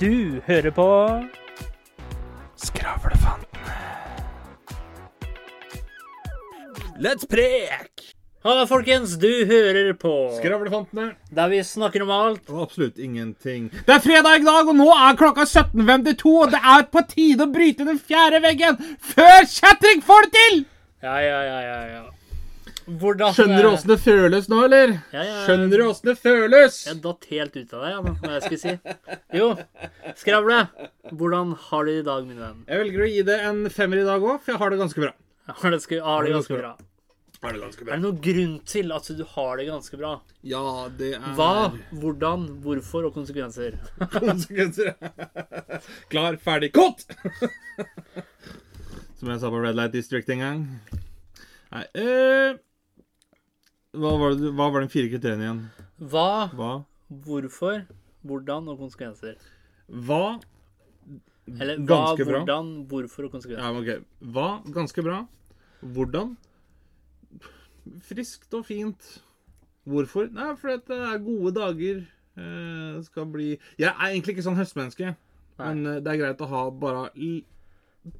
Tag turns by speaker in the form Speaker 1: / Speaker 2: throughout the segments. Speaker 1: Du hører på
Speaker 2: Skravlefantene. Let's prek!
Speaker 1: Halla, folkens. Du hører på
Speaker 2: Skravlefantene.
Speaker 1: Der vi snakker om alt.
Speaker 2: Og absolutt ingenting. Det er fredag i dag, og nå er klokka 17.52, og det er på tide å bryte den fjerde veggen før kjetring får det til!
Speaker 1: Ja, ja, ja, ja. ja. Hvordan eh,
Speaker 2: Skjønner du åssen det føles nå, eller?
Speaker 1: Ja, ja.
Speaker 2: Skjønner du åssen det føles?
Speaker 1: Jeg datt helt ut av deg, ja, hva jeg skulle si. Jo, skravle. Hvordan har du det i dag, min venn?
Speaker 2: Jeg velger å gi det en femmer i dag òg, for jeg har det ganske bra.
Speaker 1: Har det, sku- har det ganske bra?
Speaker 2: Har det ganske
Speaker 1: Er det noen grunn til at du har det ganske bra?
Speaker 2: Ja, det er
Speaker 1: Hva, hvordan, hvorfor og konsekvenser?
Speaker 2: konsekvenser. Klar, ferdig, kott! Som jeg sa på Red Light District en gang. Nei eh, hva, var det, hva var den fire kriteriene igjen?
Speaker 1: Hva,
Speaker 2: Hva?
Speaker 1: hvorfor, hvordan og konsekvenser?
Speaker 2: Hva?
Speaker 1: Eller hva,
Speaker 2: Ganske bra.
Speaker 1: hvordan, hvorfor og konsekvenser?
Speaker 2: Ja, ok. Hva? Ganske bra. Hvordan? Friskt og fint. Hvorfor? Nei, fordi at det er gode dager. Eh, skal bli Jeg er egentlig ikke sånn høstmenneske.
Speaker 1: Nei.
Speaker 2: Men eh, det er greit å ha bare l-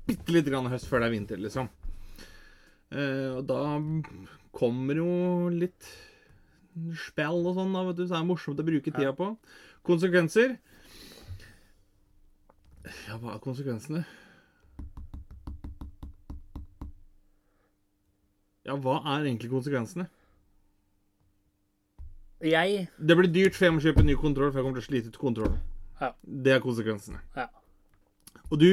Speaker 2: bitte lite grann høst før det er vinter, liksom. Eh, og da kommer jo litt spill og sånn, da, vet du, så det er morsomt å bruke tida på. Konsekvenser? Ja, hva er konsekvensene? Ja, hva er egentlig konsekvensene?
Speaker 1: Jeg
Speaker 2: Det blir dyrt, for jeg må kjøpe en ny kontroll, for jeg kommer til å slite ut kontrollen.
Speaker 1: Ja.
Speaker 2: Det er konsekvensene.
Speaker 1: Ja.
Speaker 2: Og du?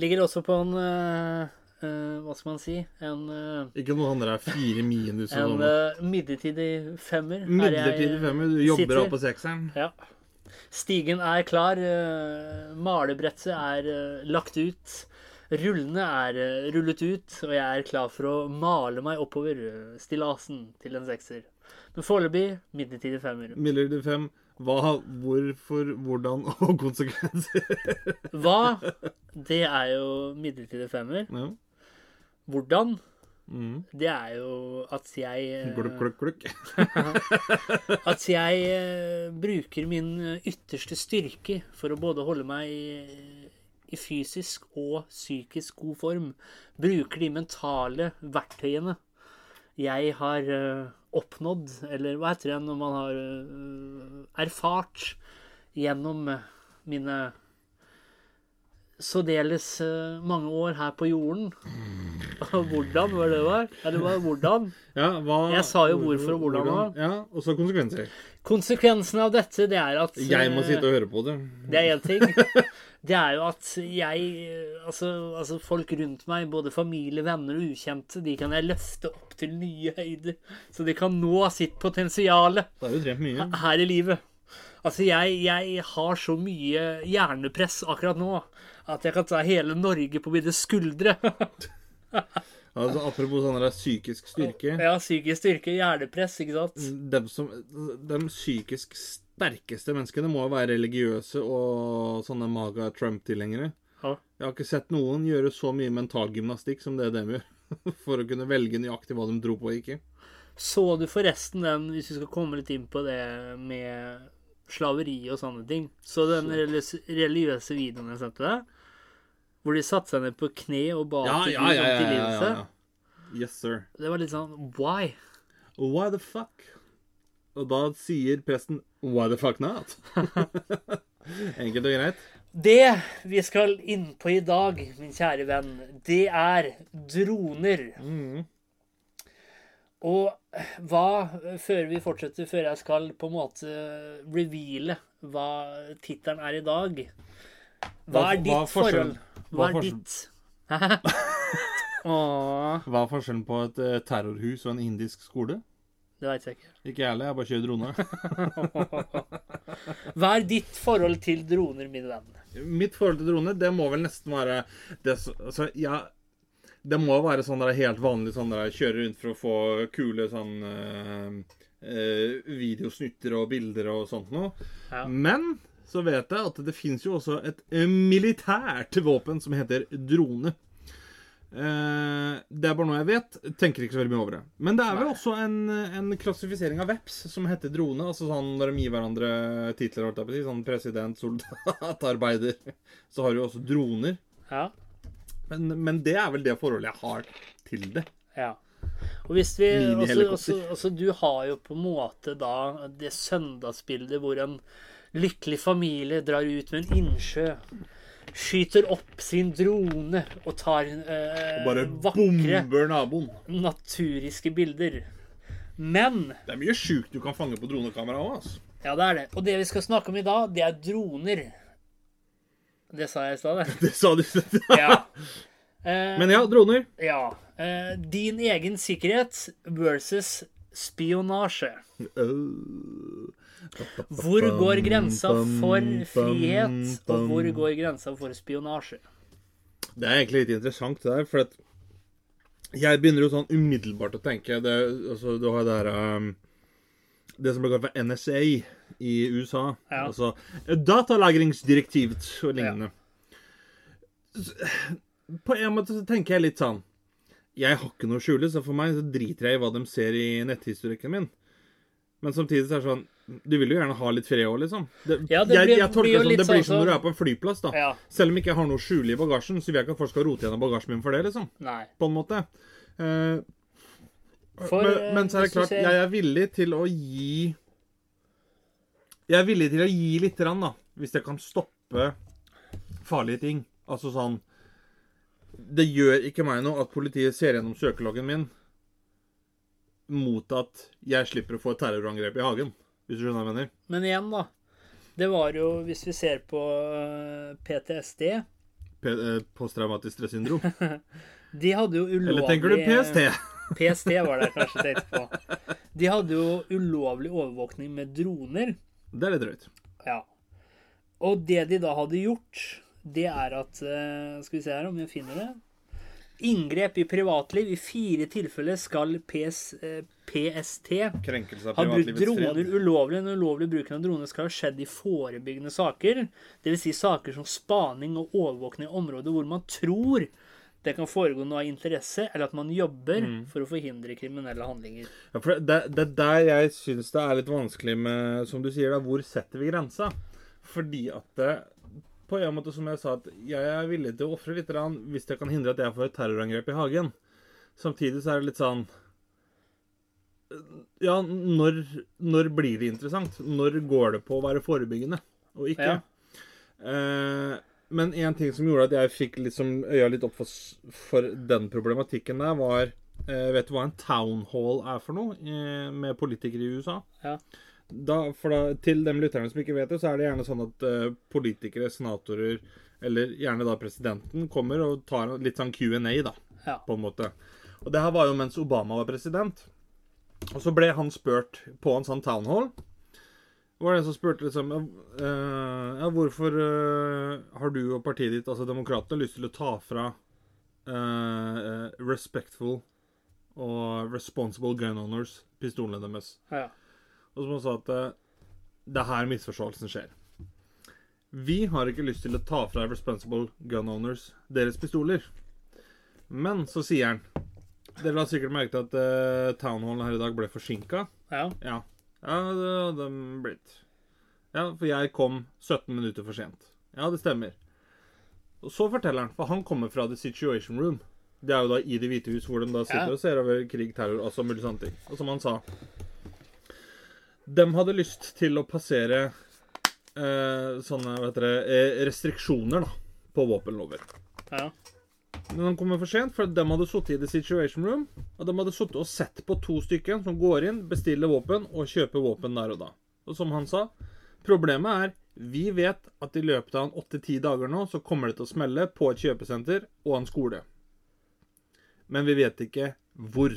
Speaker 1: ligger også på en eh, eh, Hva skal man si? En, eh,
Speaker 2: Ikke noe andre er fire minus og
Speaker 1: en
Speaker 2: sånn.
Speaker 1: eh, midlertidig femmer. er
Speaker 2: Midlertidig
Speaker 1: jeg, eh,
Speaker 2: femmer. Du jobber
Speaker 1: sitter.
Speaker 2: opp på sekseren.
Speaker 1: Ja. Stigen er klar. eh, malebrettet er eh, lagt ut. Rullene er eh, rullet ut, og jeg er klar for å male meg oppover eh, stillasen til en sekser. Men foreløpig midlertidig femmer.
Speaker 2: Midlertidig fem. Hva, hvorfor, hvordan og konsekvenser.
Speaker 1: Hva? Det er jo midlertidig femmer.
Speaker 2: Ja.
Speaker 1: Hvordan?
Speaker 2: Mm.
Speaker 1: Det er jo at jeg eh,
Speaker 2: Glukk, glukk, glukk.
Speaker 1: At jeg eh, bruker min eh, ytterste styrke for å både holde meg i, i fysisk og psykisk god form. Bruker de mentale verktøyene jeg har eh, oppnådd, eller hva heter det når man har eh, erfart gjennom eh, mine sådeles eh, mange år her på jorden.
Speaker 2: Mm.
Speaker 1: Hvordan var det det var? Ja, det var hvordan.
Speaker 2: Ja, hva,
Speaker 1: Jeg sa jo hvorfor og hvordan nå.
Speaker 2: Ja, og så konsekvenser.
Speaker 1: Konsekvensen av dette, det er at
Speaker 2: Jeg må
Speaker 1: eh,
Speaker 2: sitte og høre på det.
Speaker 1: Det er én ting. Det er jo at jeg eh, altså, altså folk rundt meg, både familie, venner og ukjente, de kan jeg løfte opp til nye høyder. Så de kan nå sitt potensial
Speaker 2: Da har du trent mye.
Speaker 1: her i livet. Altså, jeg, jeg har så mye hjernepress akkurat nå at jeg kan ta hele Norge på mine skuldre.
Speaker 2: Altså, apropos sånn der psykisk styrke.
Speaker 1: Jeg har psykisk styrke, hjernepress, ikke sant?
Speaker 2: Dem som, de psykisk sterkeste menneskene må jo være religiøse og sånne maga Trump-tilhengere.
Speaker 1: Ja.
Speaker 2: Jeg har ikke sett noen gjøre så mye mentalgymnastikk som det dem gjør. For å kunne velge nøyaktig hva de dro på og ikke.
Speaker 1: Så du forresten den, hvis vi skal komme litt inn på det med slaveri og sånne ting, så den religiøse religiøse videoen jeg sendte deg, hvor de satte seg ned på kne og ba til Gud om sånn tilgivelse,
Speaker 2: Yes, sir.
Speaker 1: det var litt sånn Why?
Speaker 2: Why the fuck? Og da sier presten Why the fuck not? Enkelt og greit.
Speaker 1: Det vi skal inn på i dag, min kjære venn, det er droner. Mm. Og hva, før vi fortsetter, før jeg skal på en måte reveale hva tittelen er i dag Hva
Speaker 2: Hva-
Speaker 1: er ditt
Speaker 2: hva er
Speaker 1: forhold?
Speaker 2: forskjellen?
Speaker 1: Hva
Speaker 2: Hva er
Speaker 1: er ditt? Hæ? Åh,
Speaker 2: Hva er forskjellen på et eh, terrorhus og en indisk skole?
Speaker 1: det veit jeg ikke.
Speaker 2: Ikke jeg heller, jeg bare kjører drone.
Speaker 1: Hva er ditt forhold til droner, min venn?
Speaker 2: Mitt forhold til drone, det må vel nesten være det som Altså, ja Det må være sånn der helt vanlig sånn der kjøre rundt for å få kule sånn eh, eh, videosnutter og bilder og sånt noe.
Speaker 1: Ja.
Speaker 2: Men så vet jeg at det fins jo også et eh, militært våpen som heter drone. Eh, det er bare noe jeg vet. Tenker ikke så veldig mye over det. Men det er vel også en, en klassifisering av veps som heter drone. Altså sånn når de gir hverandre titler, holdt jeg på å si, sånn president, soldat, arbeider, så har du jo også droner.
Speaker 1: Ja.
Speaker 2: Men, men det er vel det forholdet jeg har til det.
Speaker 1: ja. Og hvis vi også,
Speaker 2: Minihelikopter.
Speaker 1: også, også, Du har jo på en måte da det søndagsbildet hvor en lykkelig familie drar ut ved en innsjø, skyter opp sin drone og tar eh,
Speaker 2: Og bare
Speaker 1: vakre
Speaker 2: bomber naboen.
Speaker 1: naturiske bilder. Men
Speaker 2: Det er mye sjukt du kan fange på dronekamera òg, altså.
Speaker 1: Ja, det er det. Og det vi skal snakke om i dag, det er droner. Det sa jeg i stad, det.
Speaker 2: Det sa du.
Speaker 1: Ja. Eh,
Speaker 2: Men ja, droner.
Speaker 1: ja. Eh, din egen sikkerhet versus spionasje. Eh, Hvor går grensa for frihet, og hvor går grensa for spionasje?
Speaker 2: Det er egentlig litt interessant det der, for at jeg begynner jo sånn umiddelbart å tenke det, altså, Du har det her um, Det som ble kalt for NSA i USA.
Speaker 1: Ja.
Speaker 2: Altså datalagringsdirektivet og lignende. Så, På en måte så tenker jeg litt sånn Jeg har ikke noe å skjule, så for meg så driter jeg i hva de ser i netthistorikken min. Men samtidig så er det sånn Du vil jo gjerne ha litt fred òg, liksom. Det,
Speaker 1: Ja, det blir-
Speaker 2: jeg, jeg tolker
Speaker 1: blir jo
Speaker 2: det
Speaker 1: litt
Speaker 2: sånn, det blir
Speaker 1: sånn
Speaker 2: som
Speaker 1: som-
Speaker 2: når du er på en flyplass, da.
Speaker 1: Ja.
Speaker 2: Selv om jeg ikke har noe å skjule i bagasjen, så vil jeg ikke at folk skal rote gjennom bagasjen min for det, liksom.
Speaker 1: Nei.
Speaker 2: På en måte. Eh,
Speaker 1: For, eh,
Speaker 2: men, men så er det
Speaker 1: hvis du
Speaker 2: klart,
Speaker 1: ser-
Speaker 2: jeg er villig til å gi Jeg er villig til å gi lite grann, da. Hvis jeg kan stoppe farlige ting. Altså sånn Det gjør ikke meg noe at politiet ser gjennom søkeloggen min mot at jeg slipper å få et terrorangrep i hagen. Hvis du skjønner hva jeg mener?
Speaker 1: Men igjen, da. Det var jo, hvis vi ser på eh, PTSD
Speaker 2: P eh, Posttraumatisk stressyndrom.
Speaker 1: De hadde jo ulovlig
Speaker 2: Eller tenker du PST?
Speaker 1: PST var det jeg kanskje tenkte på. De hadde jo ulovlig overvåkning med droner.
Speaker 2: Det er litt drøyt.
Speaker 1: Ja. Og det de da hadde gjort, det er at eh, Skal vi se her om jeg finner det. Inngrep i privatliv. I fire tilfeller skal PS, eh, PST
Speaker 2: Krenkelse av
Speaker 1: ha brukt
Speaker 2: privatlivets
Speaker 1: droner
Speaker 2: fred.
Speaker 1: ulovlig. Den ulovlige bruken av droner skal ha skjedd i forebyggende saker. Dvs. Si saker som spaning og overvåkning i områder hvor man tror det kan foregå noe av interesse, eller at man jobber
Speaker 2: Mm.
Speaker 1: for å forhindre kriminelle handlinger.
Speaker 2: Ja, for det, det er der jeg syns det er litt vanskelig med Som du sier, da, hvor setter vi grensa? Fordi at det, På en måte, som jeg sa, at jeg er villig til å ofre litt grann hvis det kan hindre at jeg får et terrorangrep i hagen. Samtidig så er det litt sånn Ja, når, når blir det interessant? Når går det på å være forebyggende og ikke?
Speaker 1: Ja.
Speaker 2: Eh, men en ting som gjorde at jeg fikk liksom øya litt opp for, s- for den problematikken der, var eh, Vet du hva en town hall er for noe eh, med politikere i USA?
Speaker 1: Ja.
Speaker 2: Da, for da, til de lytterne som ikke vet det, så er det gjerne sånn at eh, politikere, senatorer, eller gjerne da presidenten, kommer og tar en- litt sånn Q&A, da,
Speaker 1: Ja.
Speaker 2: på en måte. Og det her var jo mens Obama var president. Og så ble han spurt på en sånn town hall. Det var det en som spurte liksom eh, Ja, hvorfor eh, har du og partiet ditt, altså Demokratene, lyst til å ta fra eh, eh, respectful og responsible gun owners pistolene deres?
Speaker 1: Ja.
Speaker 2: Og som han sa at eh, det er her misforståelsen skjer. Vi har ikke lyst til å ta fra responsible gun owners deres pistoler. Men så sier han Dere har sikkert merket at uh, townhallen her i dag ble forsinka.
Speaker 1: ja.
Speaker 2: Ja. ja, det hadde den blitt. Ja, for jeg kom 17 minutter for sent. Ja, det stemmer. Og så forteller han, for han kommer fra The Situation Room. Det er jo da i Det hvite hus, hvor de da sitter
Speaker 1: Ja.
Speaker 2: og ser over krig, terror, altså mulig sånne ting. Og som han sa De hadde lyst til å passere eh, sånne vet dere, eh, restriksjoner da, på våpenlover.
Speaker 1: ja.
Speaker 2: Men han kommer for sent, for de hadde sittet i The Situation Room. Og de hadde sittet og sett på to stykker som går inn, bestiller våpen og kjøper våpen der og da. Og som han sa, problemet er vi vet at i løpet av en åtte-ti dager nå, så kommer det til å smelle på et kjøpesenter og en skole. Men vi vet ikke hvor.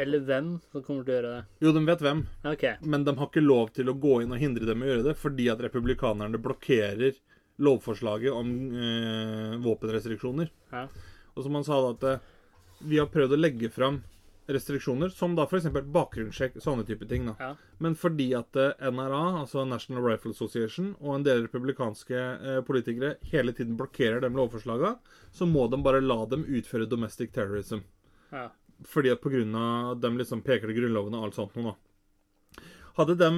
Speaker 1: Eller hvem som kommer til å gjøre det.
Speaker 2: Jo, de vet hvem,
Speaker 1: OK.
Speaker 2: men de har ikke lov til å gå inn og hindre dem i å gjøre det, fordi at republikanerne blokkerer lovforslaget om eh, våpenrestriksjoner.
Speaker 1: Ja.
Speaker 2: Og som han sa da at eh, vi har prøvd å legge fram restriksjoner, som da f.eks. bakgrunnssjekk, sånne type ting. da.
Speaker 1: Ja.
Speaker 2: Men fordi at eh, NRA, altså National Rifle Association, og en del republikanske eh, politikere hele tiden blokkerer de lovforslagene, så må de bare la dem utføre domestic terrorism.
Speaker 1: Ja.
Speaker 2: Fordi at på grunn av de liksom peker til grunnloven og alt sånt noe, da. Hadde de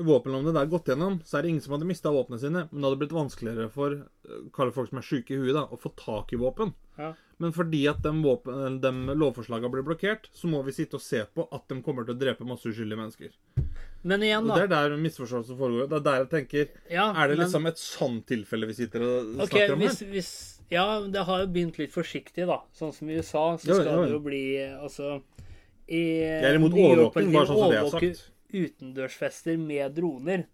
Speaker 2: våpenlovene der gått gjennom, så er det ingen som hadde mista våpnene sine, men det hadde blitt vanskeligere for eh, kall det folk som er sjuke i huet, da, å få tak i våpen.
Speaker 1: Ja.
Speaker 2: Men fordi at de, våpen, eller de lovforslagene blir blokkert, så må vi sitte og se på at de kommer til å drepe masse uskyldige mennesker.
Speaker 1: Men igjen,
Speaker 2: Og
Speaker 1: da.
Speaker 2: Det er der misforståelsen foregår. Det er der jeg tenker
Speaker 1: Ja,
Speaker 2: Er det
Speaker 1: men-
Speaker 2: liksom et sånt tilfelle vi sitter og
Speaker 1: Ok,
Speaker 2: snakker om
Speaker 1: hvis,
Speaker 2: her?
Speaker 1: hvis, ja, det har jo begynt litt forsiktig, da. Sånn som i USA, så
Speaker 2: Jo,
Speaker 1: skal
Speaker 2: jo, jo.
Speaker 1: det jo bli eh, Altså i
Speaker 2: Jeg er imot
Speaker 1: New York
Speaker 2: overvåking,
Speaker 1: politiet
Speaker 2: bare sånn som det er
Speaker 1: overvåker
Speaker 2: sagt.
Speaker 1: Utendørsfester med droner.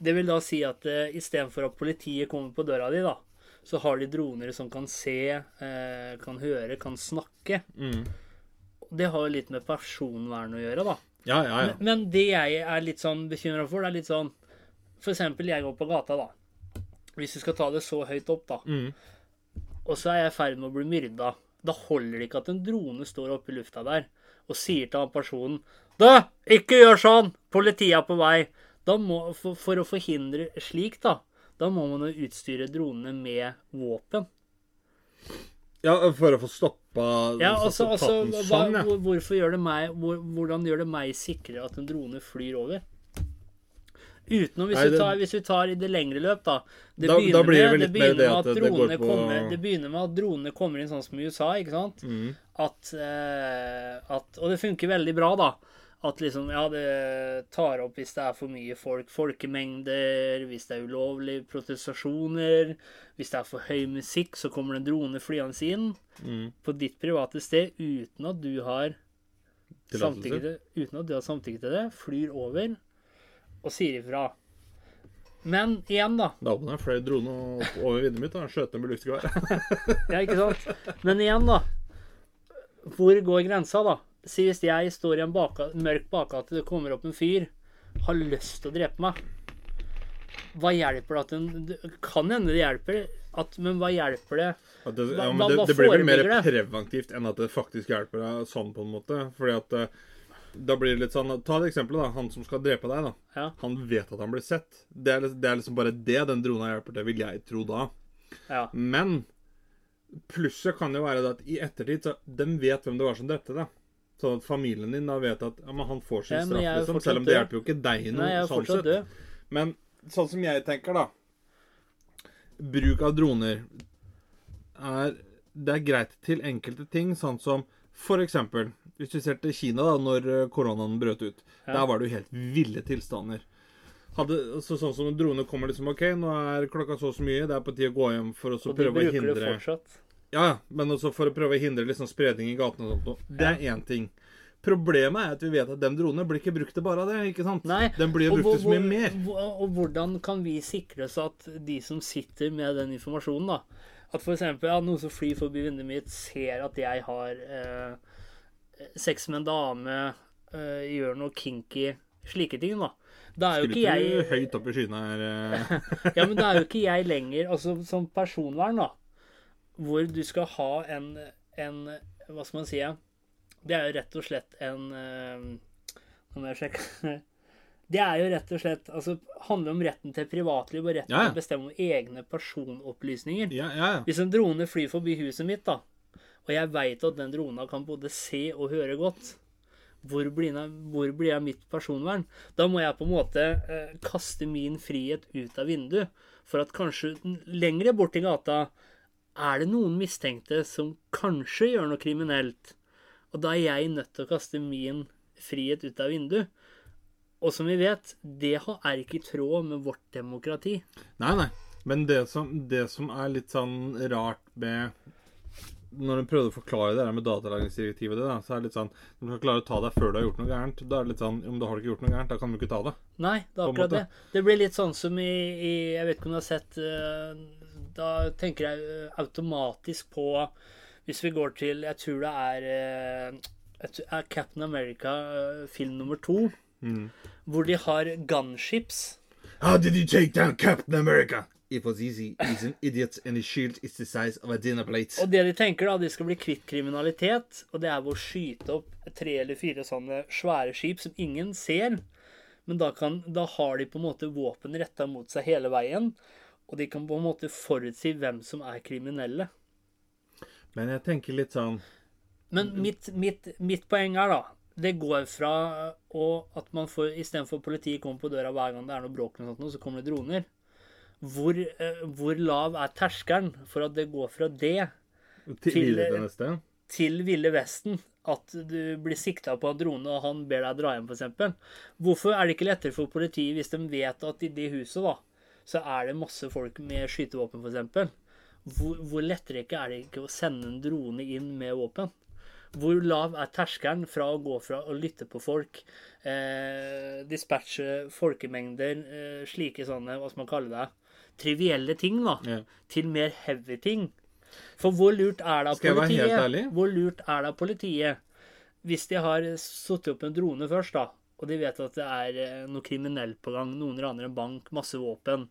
Speaker 1: Det vil da si at eh, istedenfor at politiet kommer på døra di, da, så har de droner som kan se, eh, kan høre, kan snakke.
Speaker 2: Mm.
Speaker 1: Det har jo litt med personvern å gjøre, da.
Speaker 2: Ja, ja, ja.
Speaker 1: Men det jeg er litt sånn bekymra for, det er litt sånn For eksempel, jeg går på gata, da. Hvis du skal ta det så høyt opp, da.
Speaker 2: Mm.
Speaker 1: Og så er jeg i ferd med å bli myrda. Da holder det ikke at en drone står oppe i lufta der og sier til han personen Du, ikke gjør sånn! Politiet er på vei! Da må, for, for å forhindre slikt, da, da må man jo utstyre dronene med våpen.
Speaker 2: ja, for å få stoppa
Speaker 1: Ja, altså,
Speaker 2: tatt
Speaker 1: altså
Speaker 2: den
Speaker 1: hva,
Speaker 2: sånn, ja.
Speaker 1: hvor- hvorfor gjør det meg, hvor, Hvordan gjør det meg sikrere at en drone flyr over? Utenom hvis,
Speaker 2: Nei,
Speaker 1: vi
Speaker 2: det-
Speaker 1: tar, hvis vi tar i det lengre løp, da. Det
Speaker 2: Da- da
Speaker 1: begynner,
Speaker 2: blir det vel
Speaker 1: med, det
Speaker 2: litt mer
Speaker 1: begynner
Speaker 2: det
Speaker 1: med
Speaker 2: at
Speaker 1: at
Speaker 2: det- det går
Speaker 1: dronene
Speaker 2: på-
Speaker 1: kommer, det begynner med at dronene kommer inn sånn som i USA, ikke sant?
Speaker 2: Mm,
Speaker 1: At, eh, at Og det funker veldig bra, da. At liksom, ja, det tar opp hvis det er for mye folk, folkemengder, hvis det er ulovlige protestasjoner, hvis det er for høy musikk, så kommer det en drone flyende inn
Speaker 2: Mm.
Speaker 1: på ditt private sted uten at du har
Speaker 2: Tillatelse.
Speaker 1: samtykke til, uten at du har samtykke til det, flyr over og sier ifra. Men igjen, da.
Speaker 2: Da åpna jeg flere droner opp over vinduet mitt og skjøt dem i luftgevær.
Speaker 1: Ja, ikke sant? Men igjen, da. Hvor går grensa, da? Si hvis jeg står i en bakga- mørk bakgate, det kommer opp en fyr, har lyst til å drepe meg. Hva hjelper det at en det Kan hende det hjelper, at, men hva hjelper det?
Speaker 2: At det,
Speaker 1: Hva-
Speaker 2: ja, men
Speaker 1: hva-
Speaker 2: det,
Speaker 1: hva
Speaker 2: det blir vel mer
Speaker 1: forebygger
Speaker 2: preventivt enn at det faktisk hjelper deg sånn, på en måte. Fordi at eh, da blir det litt sånn Ta det eksempelet, da. Han som skal drepe deg, da.
Speaker 1: Ja.
Speaker 2: Han vet at han blir sett. Det er, liksom- det er liksom bare det den drona hjelper til, vil jeg tro da.
Speaker 1: ja.
Speaker 2: Men plusset kan jo være det at i ettertid så De vet hvem det var som drepte deg. Sånn at familien din da vet at ja, men han får sin
Speaker 1: Ja, men
Speaker 2: straff,
Speaker 1: jeg er
Speaker 2: liksom.
Speaker 1: fortsatt
Speaker 2: Selv om det
Speaker 1: død.
Speaker 2: hjelper jo ikke deg noe.
Speaker 1: Nei, jeg er
Speaker 2: sånn
Speaker 1: fortsatt
Speaker 2: sett.
Speaker 1: død.
Speaker 2: Men sånn som jeg tenker, da Bruk av droner er Det er greit til enkelte ting, sånn som for eksempel Hvis du ser til Kina, da, når eh, koronaen brøt ut. Der var det jo helt ville tilstander. Hadde, så, sånn som en drone kommer liksom OK, nå er klokka så og så mye, det er på tide å gå hjem for å så
Speaker 1: Og de
Speaker 2: prøve å
Speaker 1: bruker det
Speaker 2: hindre
Speaker 1: fortsatt.
Speaker 2: ja, ja, men også for å prøve å hindre liksom spredning i gatene og sånt. noe. Det er én ting. Problemet er at vi vet at de dronene blir ikke brukt til bare det. ikke sant?
Speaker 1: Nei,
Speaker 2: Den blir jo
Speaker 1: og
Speaker 2: brukt til så mye
Speaker 1: hvor-
Speaker 2: mer.
Speaker 1: hvor- Og hvordan kan vi sikre oss at de som sitter med den informasjonen, da At f.eks. Ja, noen som flyr forbi vinduet mitt, ser at jeg har eh, sex med en dame, eh, gjør noe kinky Slike ting, da. Da er jo
Speaker 2: Skulle
Speaker 1: ikke jeg
Speaker 2: ikke høyt opp i skyene her. eh.
Speaker 1: ja, men da er jo ikke jeg lenger Altså som personvern, da. Hvor du skal ha en, en Hva skal man si? Det er jo rett og slett en eh, Nå må jeg sjekke Det er jo rett og slett Altså handler om retten til privatliv og retten
Speaker 2: Ja, ja.
Speaker 1: til å bestemme om egne personopplysninger.
Speaker 2: Ja, ja, ja.
Speaker 1: Hvis en drone flyr forbi huset mitt, da, og jeg veit at den drona kan både se og høre godt, hvor blir, jeg, hvor blir jeg mitt personvern? Da må jeg på en måte eh, kaste min frihet ut av vinduet, for at kanskje n- lengre bort i gata er det noen mistenkte som kanskje gjør noe kriminelt. Og da er jeg nødt til å kaste min frihet ut av vinduet. Og som vi vet, det har- er ikke i tråd med vårt demokrati.
Speaker 2: Nei, nei. Men det som, det som er litt sånn rart med Når hun prøvde å forklare det der med datalagringsdirektivet, det da, så er det litt sånn Når du skal klare å ta deg før du har gjort noe gærent, da er det litt sånn Om du har ikke gjort noe gærent, da kan du ikke ta det.
Speaker 1: Nei, det
Speaker 2: på
Speaker 1: er
Speaker 2: en
Speaker 1: akkurat det.
Speaker 2: måte.
Speaker 1: Det blir litt sånn som i, i Jeg vet ikke om du har sett eh, Da tenker jeg eh, automatisk på Hvis vi går til Jeg tror det er, eh, jeg tror- er Captain America eh, film nummer to.
Speaker 2: Mm.
Speaker 1: Hvor de har gunships.
Speaker 2: How did you take down Captain America? It was easy. He's an idiot, and his shield is the size of a dinner plate.
Speaker 1: Og det de tenker, da, de skal bli kvitt kriminalitet, og det er ved å skyte opp tre eller fire sånne svære skip som ingen ser. Men da, kan, da har de på en måte våpen retta mot seg hele veien, og de kan på en måte forutsi hvem som er kriminelle.
Speaker 2: Men jeg tenker litt sånn
Speaker 1: Men mitt, mitt, mitt poeng er, da Det går fra å, at man får istedenfor at politiet kommer på døra hver gang det er noe bråk, eller noe sånt, noe, så kommer det droner. Hvor, eh, hvor lav er terskelen for at det går fra det
Speaker 2: til, Videre til neste.
Speaker 1: til Ville Vesten at du blir sikta på en drone, og han ber deg dra hjem, f.eks. Hvorfor er det ikke lettere for politiet hvis de vet at i det huset da, så er det masse folk med skytevåpen, f.eks.? Hvor, hvor lettere ikke er det ikke å sende en drone inn med våpen? Hvor lav er terskelen fra å gå fra å lytte på folk, eh, dispatche folkemengder, eh, slike sånne, hva skal man kalle det, trivielle ting, da,
Speaker 2: Ja.
Speaker 1: til mer heavy ting? For hvor lurt er det av
Speaker 2: Skal jeg være
Speaker 1: politiet?
Speaker 2: helt ærlig?
Speaker 1: Hvor lurt er det av politiet hvis de har eh, satt opp en drone først, da, og de vet at det er eh, noe kriminelt på gang, noen raner en bank, masse våpen?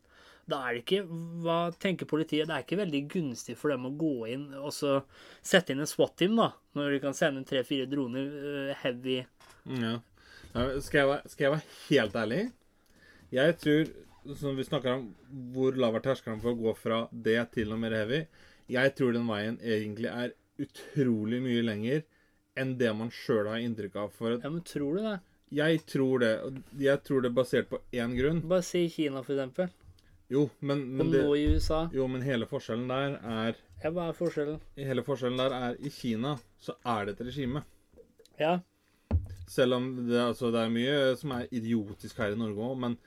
Speaker 1: Da er det ikke Hva tenker politiet? Det er ikke veldig gunstig for dem å gå inn og så sette inn en SWAT-team, da, når de kan sende tre-fire droner eh, heavy
Speaker 2: Ja. Nei, men Skal, jeg være, skal jeg være helt ærlig? Jeg tror, som vi snakker om, hvor lav er terskelen for å gå fra det til noe mer heavy? Jeg tror den veien egentlig er utrolig mye lenger enn det man sjøl har inntrykk av. For at
Speaker 1: Ja, men tror du det?
Speaker 2: jeg tror det, og jeg tror det er basert på én grunn.
Speaker 1: Bare si Kina, for eksempel.
Speaker 2: Jo, men, men
Speaker 1: Og
Speaker 2: det,
Speaker 1: nå i USA.
Speaker 2: jo, men hele forskjellen der er
Speaker 1: Ja, hva er forskjellen?
Speaker 2: Hele forskjellen der er I Kina så er det et regime.
Speaker 1: Ja.
Speaker 2: Selv om det, altså, det er mye som er idiotisk her i Norge òg, men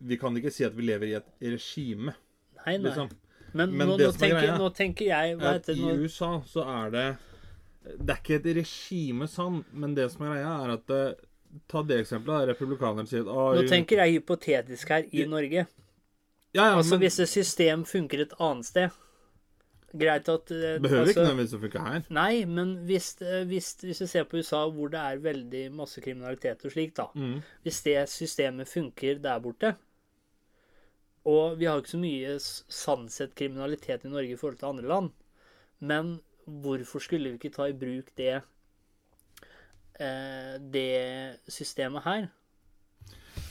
Speaker 2: vi kan ikke si at vi lever i et regime,
Speaker 1: Nei, nei.
Speaker 2: liksom.
Speaker 1: Men,
Speaker 2: Men
Speaker 1: nå,
Speaker 2: det
Speaker 1: nå,
Speaker 2: som er
Speaker 1: tenker,
Speaker 2: greia,
Speaker 1: nå tenker jeg Hva
Speaker 2: At
Speaker 1: heter det?
Speaker 2: I
Speaker 1: nå?
Speaker 2: USA så er det Det er ikke et regime sann, men det som er greia, er at eh, Ta det eksempelet der republikanerne sier at ah,
Speaker 1: Nå
Speaker 2: jo-
Speaker 1: tenker jeg hypotetisk her i Norge.
Speaker 2: ja, ja,
Speaker 1: Altså
Speaker 2: men,
Speaker 1: hvis et system funker et annet sted Greit at eh,
Speaker 2: Behøver
Speaker 1: altså,
Speaker 2: ikke nødvendigvis å funke her.
Speaker 1: Nei, men hvis, eh, hvis, hvis du ser på USA, hvor det er veldig masse kriminalitet og slikt, da.
Speaker 2: Mm.
Speaker 1: Hvis det systemet funker der borte Og vi har ikke så mye s- sannsett kriminalitet i Norge i forhold til andre land. Men hvorfor skulle vi ikke ta i bruk det eh, det systemet her?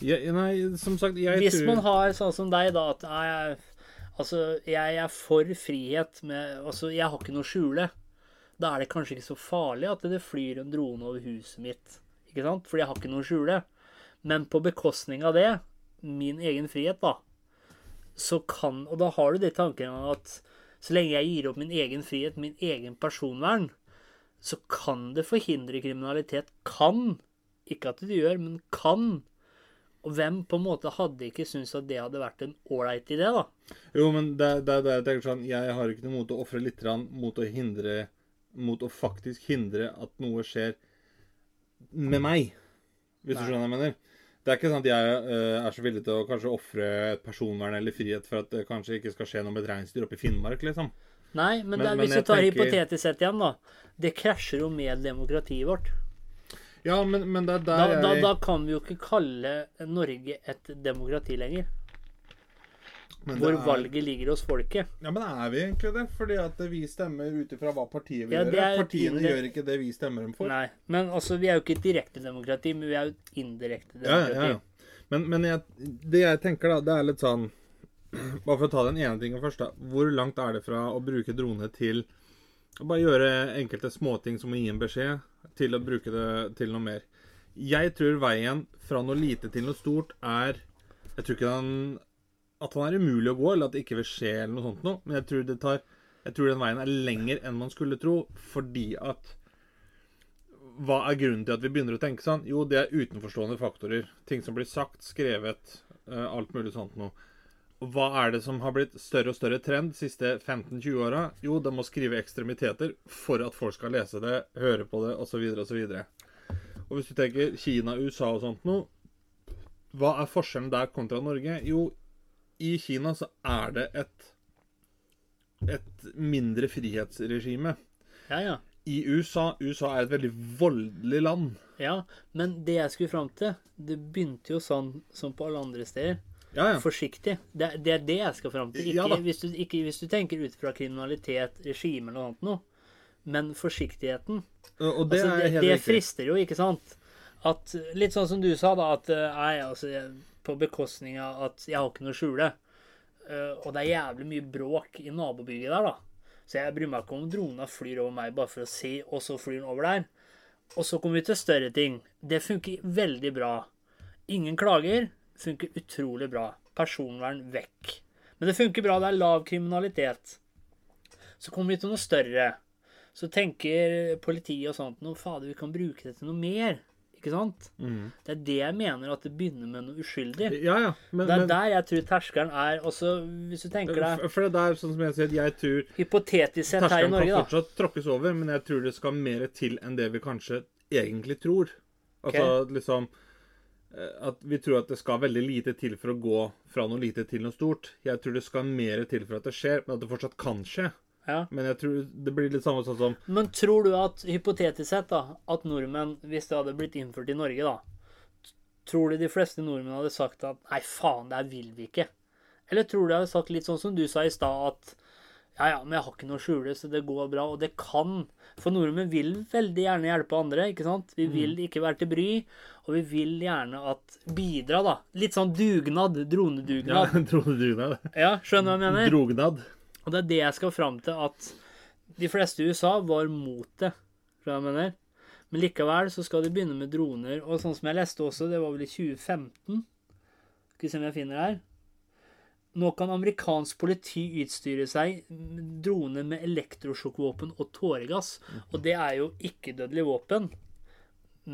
Speaker 2: Jeg, nei, som sagt, jeg
Speaker 1: Hvis
Speaker 2: tror
Speaker 1: man har sånn som deg, da, at nei, jeg, altså, jeg er for frihet med Altså, jeg har ikke noe å skjule. Da er det kanskje ikke så farlig at det flyr en drone over huset mitt. Ikke sant? Fordi jeg har ikke noe å skjule. Men på bekostning av det, min egen frihet, da, så kan Og da har du det i tanken at så lenge jeg gir opp min egen frihet, min egen personvern, så kan det forhindre kriminalitet. Kan. Ikke at det gjør, men kan. Og hvem på en måte hadde ikke syntes at det hadde vært en ålreit idé, da?
Speaker 2: Jo, men det er der jeg tenker sånn Jeg har ikke noe mot å ofre litt grann mot å hindre Mot å faktisk hindre at noe skjer med meg. Hvis du
Speaker 1: Nei.
Speaker 2: skjønner hva jeg mener. Det er ikke sånn at jeg eh, er så villig til å kanskje ofre et personvern eller frihet for at det kanskje ikke skal skje noe med et reinsdyr oppe i Finnmark, liksom.
Speaker 1: Nei, men,
Speaker 2: Men-
Speaker 1: det, er-
Speaker 2: men
Speaker 1: hvis vi
Speaker 2: jeg
Speaker 1: tar
Speaker 2: tenker-
Speaker 1: hypotetisk sett igjen, da. Det krasjer jo med demokratiet vårt.
Speaker 2: Ja, men, men det er
Speaker 1: Da,
Speaker 2: der
Speaker 1: da,
Speaker 2: jeg
Speaker 1: da kan vi jo ikke kalle Norge et demokrati lenger.
Speaker 2: men det
Speaker 1: Hvor
Speaker 2: er-
Speaker 1: valget ligger hos folket.
Speaker 2: Ja, men er vi egentlig det? Fordi at vi stemmer ut ifra hva partiet vil
Speaker 1: Ja, det
Speaker 2: gjøre.
Speaker 1: er jo
Speaker 2: Partiene
Speaker 1: tydelig.
Speaker 2: gjør ikke det vi stemmer dem for.
Speaker 1: Nei, men altså, vi er jo ikke et direkte demokrati, men vi er jo et indirekte
Speaker 2: Ja, ja,
Speaker 1: demokrati.
Speaker 2: ja, ja. Men, men jeg, det jeg tenker, da, det er litt sånn Bare for å ta den ene tingen først, da. Hvor langt er det fra å bruke drone til å bare gjøre enkelte småting som å gi en beskjed, til å bruke det til noe mer? Jeg tror veien fra noe lite til noe stort er Jeg tror ikke den at han er umulig å gå, eller at det ikke vil skje, eller noe sånt noe. Men jeg tror, det tar, jeg tror den veien er lenger enn man skulle tro, fordi at Hva er grunnen til at vi begynner å tenke sånn? Jo, det er utenforstående faktorer. Ting som blir sagt, skrevet, eh, alt mulig sånt noe. Hva er det som har blitt større og større trend de siste 15-20 åra? Jo, de må skrive ekstremiteter for at folk skal lese det, høre på det, osv., osv. Og hvis du tenker Kina, USA og sånt noe Hva er forskjellen der kontra Norge? Jo, i Kina så er det et et mindre frihetsregime.
Speaker 1: ja, ja.
Speaker 2: I USA USA er et veldig voldelig land.
Speaker 1: Ja, men det jeg skulle fram til, det begynte jo sånn som på alle andre steder.
Speaker 2: Ja, ja.
Speaker 1: forsiktig. Det, det er det jeg skal fram til.
Speaker 2: Ja
Speaker 1: Ikke,
Speaker 2: da.
Speaker 1: hvis du, ikke hvis du tenker ut fra kriminalitet, regime eller noe annet noe. Men forsiktigheten.
Speaker 2: Og og
Speaker 1: Det,
Speaker 2: det
Speaker 1: altså, det,
Speaker 2: er helt
Speaker 1: det
Speaker 2: riktig.
Speaker 1: frister jo, ikke sant? At, eh, litt sånn som du sa, da. At eh, nei, altså, jeg- på bekostning av at jeg har ikke noe å skjule. Eh, og det er jævlig mye bråk i nabobygget der, da. Så jeg bryr meg ikke om drona flyr over meg bare for å se, og så flyr den over der. Og så kommer vi til større ting. Det funker veldig bra. Ingen klager. Funker utrolig bra. Personvern vekk. Men det funker bra. Det er lav kriminalitet. Så kommer vi til noe større. Så tenker politiet og sånt noe, fader, vi kan bruke det til noe mer. Ikke sant? Det er det jeg mener, at det begynner med noe uskyldig.
Speaker 2: Mm. Ja, ja. Men,
Speaker 1: Det er
Speaker 2: men
Speaker 1: der jeg tror terskelen er. Også, hvis du tenker deg
Speaker 2: f- for det er sånn som jeg sier, jeg tror
Speaker 1: hypotetisk sett her i
Speaker 2: terskelen kan
Speaker 1: Norge, da.
Speaker 2: fortsatt tråkkes over, men jeg tror det skal mer til enn det vi kanskje egentlig tror. Altså liksom eh, At vi tror at det skal veldig lite til for å gå fra noe lite til noe stort. Jeg tror det skal mer til for at det skjer, men at det fortsatt kan skje.
Speaker 1: Ja.
Speaker 2: Men jeg tror det blir litt samme sånn som
Speaker 1: Men tror du at, hypotetisk sett, da, at nordmenn, hvis det hadde blitt innført i Norge, da, tror du de fleste nordmenn hadde sagt at nei, faen, det her vil vi ikke? Eller tror du de hadde sagt litt sånn som du sa i stad, at ja, ja, men jeg har ikke noe å skjule, så det går bra, og det kan For nordmenn vil veldig gjerne hjelpe andre, ikke sant? Vi vil ikke være til bry, og vi vil gjerne at Bidra, da. Litt sånn dugnad.
Speaker 2: ja,
Speaker 1: Dronedugnad.
Speaker 2: Drone dugnad.
Speaker 1: Ja, skjønner du hva jeg mener?
Speaker 2: Drognad.
Speaker 1: Og det er det jeg skal fram til, at de fleste i USA var mot det. tror jeg jeg mener. Men likevel så skal de begynne med droner. Og sånn som jeg leste også, det var vel i 2015 Skal vi se om jeg finner det her. Nå kan amerikansk politi utstyre seg med droner med elektrosjokkvåpen og tåregass. Og det er jo ikke-dødelig våpen,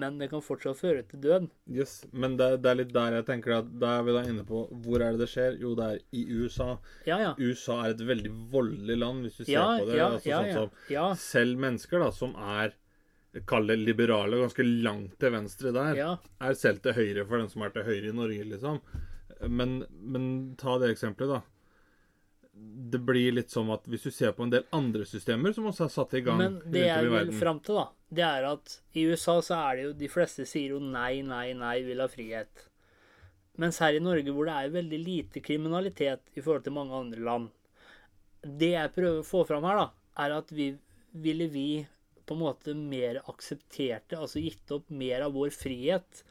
Speaker 1: men det kan fortsatt føre til død.
Speaker 2: Yes, men det, det er litt der jeg tenker at da er vi da inne på hvor er det det skjer? Jo, det er i USA.
Speaker 1: Ja, ja.
Speaker 2: USA er et veldig voldelig land, hvis du ser
Speaker 1: Ja,
Speaker 2: på det.
Speaker 1: ja,
Speaker 2: altså,
Speaker 1: ja,
Speaker 2: sånn
Speaker 1: ja.
Speaker 2: som,
Speaker 1: ja.
Speaker 2: Selv mennesker da, som er Kall det liberale, ganske langt til venstre der,
Speaker 1: Ja.
Speaker 2: er selv til høyre for den som er til høyre i Norge, liksom. Men, men ta det eksempelet, da. Det blir litt som at hvis du ser på en del andre systemer som også er satt i gang
Speaker 1: Men
Speaker 2: rundt om
Speaker 1: det jeg
Speaker 2: i
Speaker 1: vil
Speaker 2: verden
Speaker 1: fram til, da, det er at i USA så er det jo De fleste sier jo nei, nei, nei, vil ha frihet. Mens her i Norge, hvor det er veldig lite kriminalitet i forhold til mange andre land Det jeg prøver å få fram her, da, er at vi ville vi på en måte mer aksepterte, altså gitt opp mer av vår frihet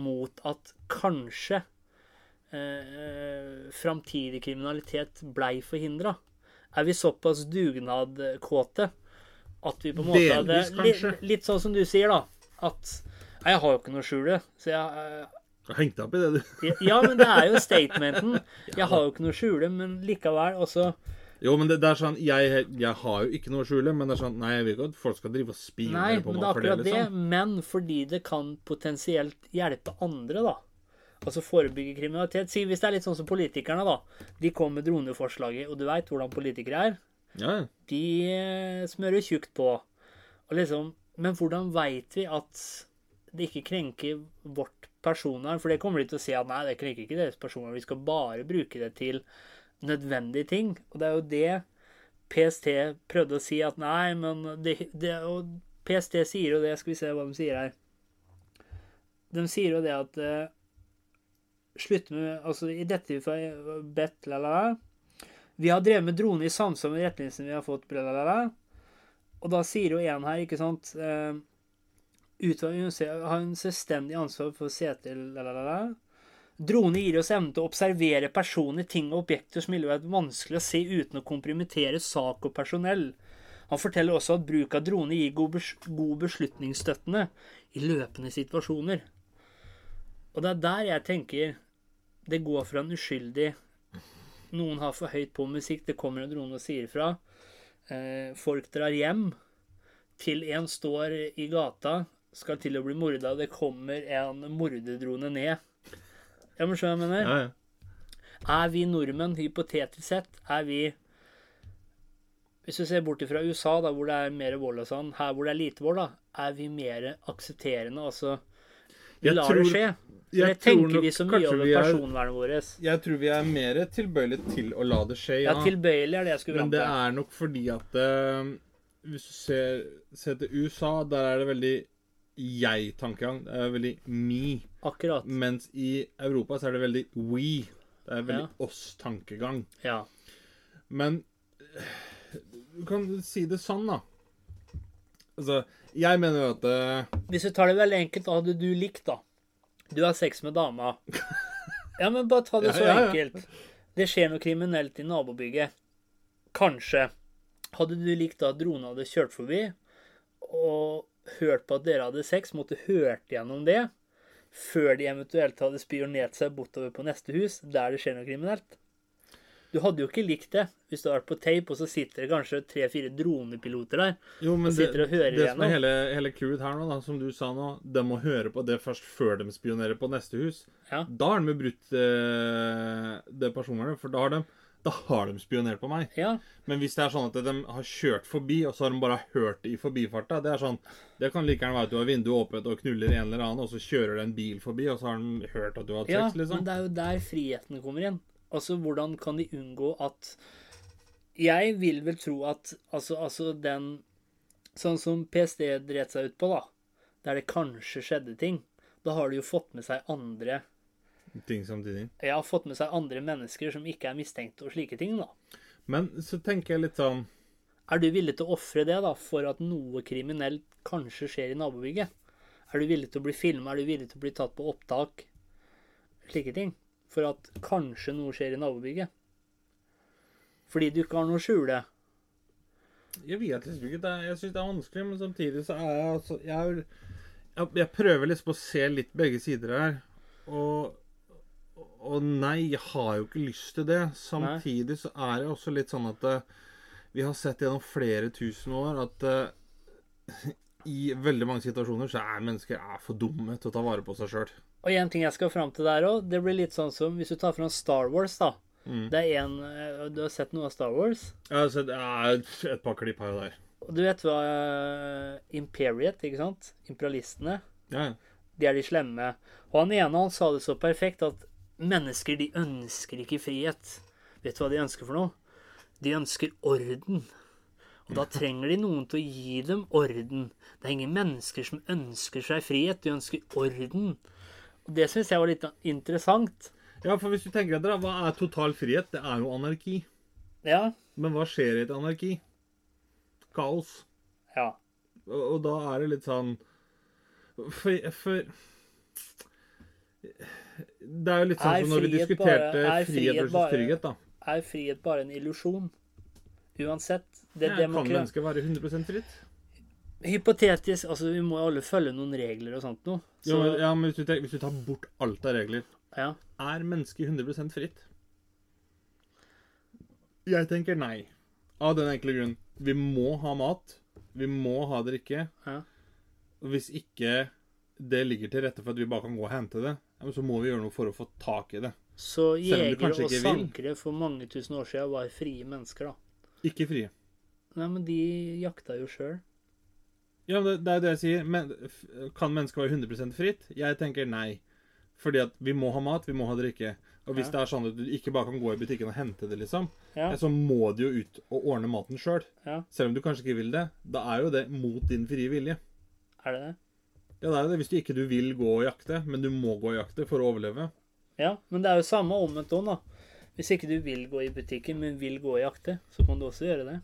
Speaker 1: mot at kanskje eh, framtidig kriminalitet blei forhindra. Er vi såpass dugnadkåte at vi på en måte hadde
Speaker 2: Delvis,
Speaker 1: litt,
Speaker 2: kanskje.
Speaker 1: litt sånn som du sier, da. At Nei, jeg har jo ikke noe å skjule, så jeg eh,
Speaker 2: Heng deg opp i det, du.
Speaker 1: Ja, men det er jo statementen. Jeg har jo ikke noe å skjule, men likevel også
Speaker 2: Jo, men det, det er sånn jeg, jeg har jo ikke noe å skjule, men det er sånn Nei, jeg vil ikke at folk skal drive og
Speaker 1: Nei,
Speaker 2: spionere på
Speaker 1: men det
Speaker 2: meg
Speaker 1: er
Speaker 2: for det,
Speaker 1: akkurat det.
Speaker 2: liksom.
Speaker 1: Men fordi det kan potensielt hjelpe andre, da. Altså forebygge kriminalitet. Si hvis det er litt sånn som politikerne, da. De kom med droneforslaget, og du veit hvordan politikere er.
Speaker 2: Ja, ja.
Speaker 1: De eh, smører tjukt på. Og liksom, men hvordan veit vi at det ikke krenker vårt personvern? For det kommer de til å si at nei, det krenker ikke deres personvern. Vi skal bare bruke det til nødvendige ting. Og det er jo det PST prøvde å si at nei, men det, det Og PST sier jo det, skal vi se hva de sier her. De sier jo det at eh, Slutt med Altså, i dette vi får bedt, la, la, la. Vi har drevet med drone i samsvar med retningslinjene vi har fått. Bla, bla, bla, bla. Og da sier jo en her, ikke sant eh, Utvalget UNC har en selvstendig ansvar for CT la, la, la, la. Drone gir oss evne til å observere personer, ting og objekter som ville vært vanskelig å se uten å kompromittere sak og personell. Han forteller også at bruk av drone gir god, bes god beslutningsstøttende i løpende situasjoner. Og det er der jeg tenker det går fra en uskyldig noen har for høyt på musikk, det kommer en drone og sier fra. Eh, folk drar hjem. Til en står i gata, skal til å bli morda, og det kommer en morderdrone ned. Ja, men skjønner du hva jeg mener?
Speaker 2: ja, ja.
Speaker 1: Er vi nordmenn, hypotetisk sett, er vi Hvis du ser bort fra USA, da, hvor det er mer vold og sånn, her hvor det er lite vold, da, er vi mer aksepterende, altså Vi
Speaker 2: Jeg
Speaker 1: lar
Speaker 2: tror-
Speaker 1: det skje. Så
Speaker 2: jeg
Speaker 1: jeg
Speaker 2: tror
Speaker 1: tenker
Speaker 2: nok
Speaker 1: vi så mye
Speaker 2: kanskje
Speaker 1: over
Speaker 2: vi er-
Speaker 1: personvernet vårt.
Speaker 2: Jeg tror vi er mer tilbøyelig til å la det skje,
Speaker 1: Ja,
Speaker 2: ja.
Speaker 1: tilbøyelig er det jeg skulle
Speaker 2: Men
Speaker 1: fram
Speaker 2: det
Speaker 1: til.
Speaker 2: er nok fordi at eh, Hvis du ser, ser til USA, der er det veldig jeg-tankegang. Det er veldig me.
Speaker 1: Akkurat.
Speaker 2: Mens i Europa så er det veldig we. Det er veldig oss-tankegang.
Speaker 1: Ja.
Speaker 2: Men eh, du kan si det sånn, da. Altså, jeg mener jo at eh,
Speaker 1: Hvis vi tar det veldig enkelt, hva hadde du likt, da? Du har sex med dama. Ja, men bare ta det
Speaker 2: Ja,
Speaker 1: så
Speaker 2: ja, ja.
Speaker 1: enkelt. Det skjer noe kriminelt i nabobygget. Kanskje. Hadde du likt da at dronen hadde kjørt forbi og hørt på at dere hadde sex, måtte hørt gjennom det, før de eventuelt hadde spionert seg bortover på neste hus, der det skjer noe kriminelt? Du hadde jo ikke likt det hvis du hadde vært på tape, og så sitter det kanskje tre-fire dronepiloter der.
Speaker 2: Jo, men det,
Speaker 1: sitter og hører
Speaker 2: det som
Speaker 1: igjennom.
Speaker 2: er hele, hele clouet her nå, da, som du sa nå De må høre på det først før de spionerer på neste hus.
Speaker 1: Ja.
Speaker 2: Da har de jo brutt eh, det personvernet, for da har de da har de spionert på meg.
Speaker 1: Ja,
Speaker 2: Men hvis det er sånn at de har kjørt forbi, og så har de bare hørt det i forbifarta Det er sånn, det kan like gjerne være at du har vinduet åpent og knuller en eller annen, og så kjører det en bil forbi, og så har de hørt at du har hatt
Speaker 1: Ja,
Speaker 2: sex, liksom.
Speaker 1: men det er jo der friheten kommer inn. Altså, hvordan kan de unngå at Jeg vil vel tro at altså, altså den Sånn som PST dreit seg ut på, da, der det kanskje skjedde ting, da har de jo fått med seg andre
Speaker 2: Ting samtidig.
Speaker 1: Ja, fått med seg andre mennesker som ikke er mistenkte og slike ting, da.
Speaker 2: Men så tenker jeg litt sånn
Speaker 1: Er du villig til å ofre det, da, for at noe kriminelt kanskje skjer i nabobygget? Er du villig til å bli filma? Er du villig til å bli tatt på opptak? Slike ting. For at kanskje noe skjer i nabobygget. Fordi du ikke har noe å skjule.
Speaker 2: Jeg vet liksom ikke. Det er, jeg syns det er vanskelig, men samtidig så er jeg altså Jeg, er- jeg, jeg prøver liksom å se litt begge sider her. Og, og nei, jeg har jo ikke lyst til det. Samtidig så er det også litt sånn at eh, vi har sett gjennom flere tusen år at eh, i veldig mange situasjoner så er mennesker er for dumme til å ta vare på seg sjøl.
Speaker 1: Og en ting jeg skal fram til der òg, det blir litt sånn som hvis du tar fram Star Wars, da. Det er en eh, Du har sett noe av Star Wars?
Speaker 2: Altså, det er et par klipp her og der.
Speaker 1: Og du vet hva eh, Imperiet, ikke sant? Imperialistene.
Speaker 2: Ja, ja.
Speaker 1: De er de slemme. Og han ene han sa det så perfekt at mennesker de ønsker ikke frihet. Vet du hva de ønsker for noe? De ønsker orden. Og da trenger de noen til å gi dem orden. Det er ingen mennesker som ønsker seg frihet, de ønsker orden. Og det syns jeg var litt interessant.
Speaker 2: ja, for hvis du tenker etter, da, hva er total frihet? Det er jo anarki.
Speaker 1: Ja.
Speaker 2: Men hva skjer i et anarki? Kaos.
Speaker 1: Ja.
Speaker 2: Og, og da er det litt sånn For, for Det er jo litt sånn
Speaker 1: Er
Speaker 2: som når vi
Speaker 1: frihet
Speaker 2: diskuterte
Speaker 1: bare- er
Speaker 2: frihet
Speaker 1: frihet
Speaker 2: versus
Speaker 1: bare-
Speaker 2: trygghet, da.
Speaker 1: Er frihet bare en illusjon? Uansett. Det,
Speaker 2: Ja,
Speaker 1: det må
Speaker 2: kan
Speaker 1: ikke
Speaker 2: mennesket være 100 fritt?
Speaker 1: Hypotetisk Altså, vi må jo alle følge noen regler og sånt noe.
Speaker 2: Jo,
Speaker 1: Så,
Speaker 2: men, ja, men hvis du, tenker, hvis du tar bort alt av regler
Speaker 1: ja.
Speaker 2: Er mennesket 100 fritt? Jeg tenker nei. Av den enkle grunn. Vi må ha mat. Vi må ha drikke.
Speaker 1: Ja.
Speaker 2: Og Hvis ikke det ligger til rette for at vi bare kan gå og hente det, ja, men så må vi gjøre noe for å få tak i det.
Speaker 1: Så
Speaker 2: Selv om du
Speaker 1: jegere
Speaker 2: kanskje
Speaker 1: og
Speaker 2: ikke vil.
Speaker 1: sankere for mange tusen år siden var frie mennesker, da.
Speaker 2: Ikke frie.
Speaker 1: Nei, men de jakta jo sjøl.
Speaker 2: Ja, men det, det er jo det jeg sier. Men, f- kan mennesket være 100 fritt? Jeg tenker nei. Fordi at vi må ha mat, vi må ha drikke. Og hvis
Speaker 1: Ja.
Speaker 2: det er sånn at du ikke bare kan gå i butikken og hente det, liksom,
Speaker 1: Ja.
Speaker 2: ja, så må du jo ut og ordne maten sjøl.
Speaker 1: Ja.
Speaker 2: Selv om du kanskje ikke vil det. Da er jo det mot din frie vilje.
Speaker 1: Er det det?
Speaker 2: Ja, det er jo det hvis du ikke du vil gå og jakte, men du må gå og jakte for å overleve.
Speaker 1: Ja, men det er jo samme omvendt òg, da. Hvis ikke du vil gå i butikken, men vil gå og jakte, så kan du også gjøre det.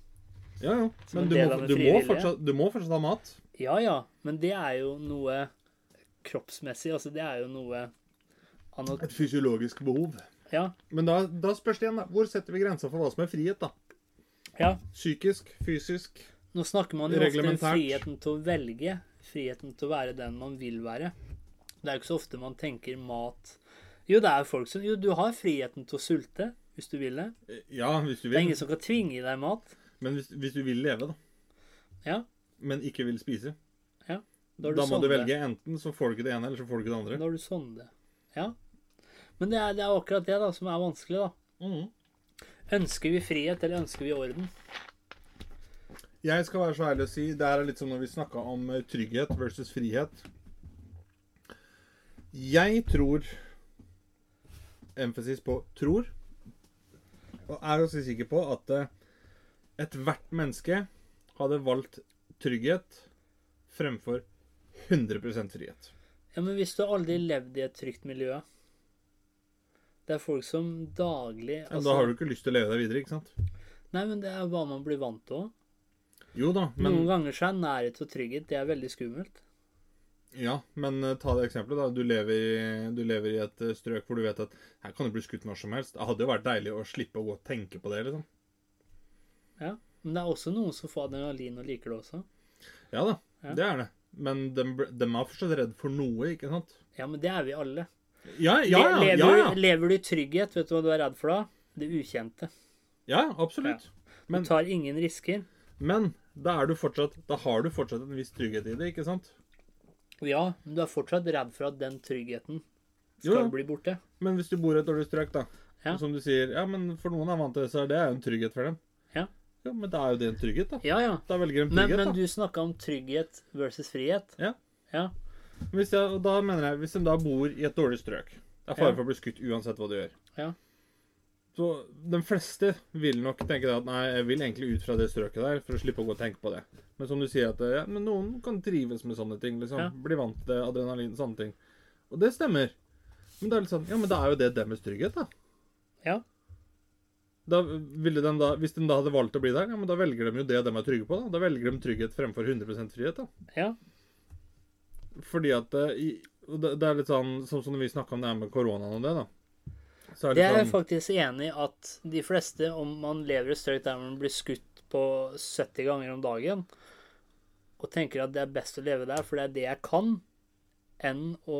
Speaker 2: Ja, jo.
Speaker 1: Som
Speaker 2: Men
Speaker 1: en
Speaker 2: du
Speaker 1: del
Speaker 2: må,
Speaker 1: av den
Speaker 2: du,
Speaker 1: frie
Speaker 2: må
Speaker 1: vilje.
Speaker 2: fortsatt, du må fortsatt ha mat.
Speaker 1: Ja ja, men det er jo noe kroppsmessig. Altså, det er jo noe annet
Speaker 2: Et fysiologisk behov.
Speaker 1: Ja.
Speaker 2: Men da, da spørs det igjen, da. Hvor setter vi grensa for hva som er frihet, da?
Speaker 1: ja.
Speaker 2: Psykisk? Fysisk?
Speaker 1: Nå snakker man jo ofte om
Speaker 2: Reglementært.
Speaker 1: friheten til å velge. Friheten til å være den man vil være. Det er jo ikke så ofte man tenker mat Jo, det er folk som Jo, du har friheten til å sulte hvis du vil det.
Speaker 2: Eh, Ja, hvis du
Speaker 1: Det
Speaker 2: vil.
Speaker 1: er ingen som kan tvinge deg mat.
Speaker 2: Men hvis, hvis du vil leve, da.
Speaker 1: Ja.
Speaker 2: Men ikke vil spise.
Speaker 1: Da, har
Speaker 2: Da må du
Speaker 1: sonde.
Speaker 2: velge. Enten så får du ikke det ene, eller så får du ikke det
Speaker 1: Da
Speaker 2: andre.
Speaker 1: har du sonde. Ja. Men det er, det er akkurat det da som er vanskelig, da.
Speaker 2: Mhm.
Speaker 1: Ønsker vi frihet, eller ønsker vi orden?
Speaker 2: Jeg skal være så ærlig å si, det her er litt som når vi snakka om eh, trygghet versus frihet. Jeg tror Emfasis på tror. Og er også sikker på at eh, ethvert menneske hadde valgt trygghet fremfor 100 frihet.
Speaker 1: Ja, men hvis du aldri levd i et trygt miljø Det er folk som daglig
Speaker 2: Ja,
Speaker 1: altså,
Speaker 2: da har du ikke lyst til å leve deg videre, ikke sant?
Speaker 1: Nei, men det er hva man blir vant til òg.
Speaker 2: Jo da, men
Speaker 1: Noen ganger så er nærhet og trygghet det er veldig skummelt.
Speaker 2: Ja, men eh, ta det eksempelet. da. Du lever, i, du lever i et eh, strøk hvor du vet at her kan du bli skutt når som helst. Det hadde jo vært deilig å slippe å gå og tenke på det. liksom.
Speaker 1: Ja. Men det er også noen som får adrenalin og liker det også.
Speaker 2: Ja da,
Speaker 1: Ja.
Speaker 2: det er det. Men de, er fortsatt redd for noe, ikke sant?
Speaker 1: Ja, men det er vi alle.
Speaker 2: Ja, ja, ja.
Speaker 1: Le-
Speaker 2: ja,
Speaker 1: lever,
Speaker 2: ja.
Speaker 1: lever du i trygghet, vet du hva du er redd for da? Det ukjente.
Speaker 2: ja absolutt. Men-
Speaker 1: Du tar ingen risker.
Speaker 2: Men da, er du fortsatt, da har du fortsatt en viss trygghet i det, ikke sant?
Speaker 1: Ja, men du er fortsatt redd for at den tryggheten
Speaker 2: Jo, ja.
Speaker 1: skal bli borte.
Speaker 2: Men hvis du bor i et dårlig strøk, da,
Speaker 1: Ja.
Speaker 2: som du sier Ja, men for noen er vant til det, så er det jo en trygghet for dem.
Speaker 1: Ja.
Speaker 2: Jo, men da er jo det en trygghet, da.
Speaker 1: Ja, ja.
Speaker 2: Da velger de
Speaker 1: Men,
Speaker 2: trygghet, da.
Speaker 1: men du snakka om trygghet versus frihet.
Speaker 2: Ja.
Speaker 1: Ja,
Speaker 2: Hvis jeg, og da mener jeg, hvis de da bor i et dårlig strøk Det er fare
Speaker 1: Ja.
Speaker 2: for å bli skutt uansett hva du gjør.
Speaker 1: Ja.
Speaker 2: Så de fleste vil nok tenke det at nei, jeg vil egentlig ut fra det strøket der for å slippe å gå og tenke på det. Men som du sier, at ja, men noen kan trives med sånne ting. liksom.
Speaker 1: Ja.
Speaker 2: Bli vant til det, adrenalin, sånne ting. Og det stemmer. Men det er litt sånn, ja, men da er jo det deres trygghet, da.
Speaker 1: Ja.
Speaker 2: Da ville de da, Hvis de da hadde valgt å bli der, ja, men da velger de jo det de er trygge på. Da Da velger de trygghet fremfor 100 frihet. da.
Speaker 1: ja.
Speaker 2: Fordi at eh, i- og det, det er litt sånn Sånn som når vi snakka om det her med koronaen og det, da. Så er
Speaker 1: Det
Speaker 2: det,
Speaker 1: er jeg
Speaker 2: sånn
Speaker 1: faktisk enig i at de fleste, om man lever i et strøk der man blir skutt på 70 ganger om dagen, og tenker at det er best å leve der, for det er det jeg kan, enn å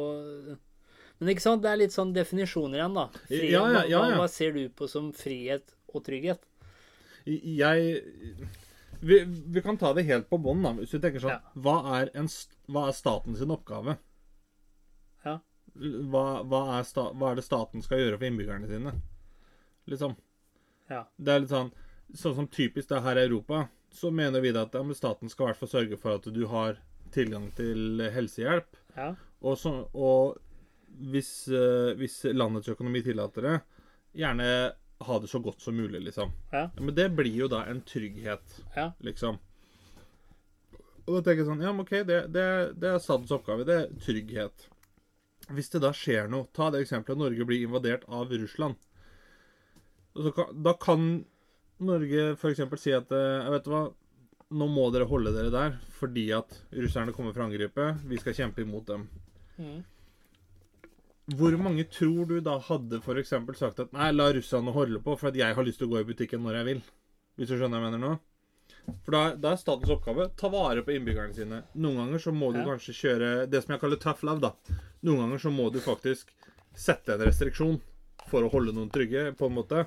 Speaker 1: Men ikke sant, det er litt sånn definisjoner igjen, da. Frihet,
Speaker 2: Ja, ja, ja,
Speaker 1: hva-
Speaker 2: ja.
Speaker 1: Hva ser du på som frihet og trygghet?
Speaker 2: i- Jeg vi, vi kan ta det helt på bånn, da. Hvis du tenker sånn
Speaker 1: Ja.
Speaker 2: hva, er en, st- hva er staten sin oppgave?
Speaker 1: Ja.
Speaker 2: Hva, hva, er sta, hva er det staten skal gjøre for innbyggerne sine? Liksom.
Speaker 1: Ja.
Speaker 2: Det er litt sånn Sånn som typisk det er her i Europa, så mener vi da at ja, men staten skal i hvert fall sørge for at du har tilgang til helsehjelp.
Speaker 1: Ja.
Speaker 2: Og, så, og hvis, eh, hvis landets økonomi tillater det, gjerne ha det så godt som mulig, liksom.
Speaker 1: Ja.
Speaker 2: Men det blir jo da en trygghet,
Speaker 1: Ja.
Speaker 2: liksom. Og da tenker jeg sånn Ja, men OK, det, det, det er statens oppgave. Det er trygghet. Hvis det da skjer noe Ta det eksempelet at Norge blir invadert av Russland. Og så kan, da kan Norge f.eks. si at eh, Jeg vet hva nå må dere holde dere der fordi at russerne kommer fra angripe. Vi skal kjempe imot dem.
Speaker 1: Mhm.
Speaker 2: Hvor mange tror du da hadde for eksempel sagt at nei, la russerne holde på, for at jeg har lyst til å gå i butikken når jeg vil? Hvis du skjønner hva jeg mener nå? For da, da er statens oppgave ta vare på innbyggerne sine. Noen ganger så må du
Speaker 1: Ja.
Speaker 2: kanskje kjøre det som jeg kaller tough love, da. Noen ganger så må du faktisk sette en restriksjon for å holde noen trygge, på en måte.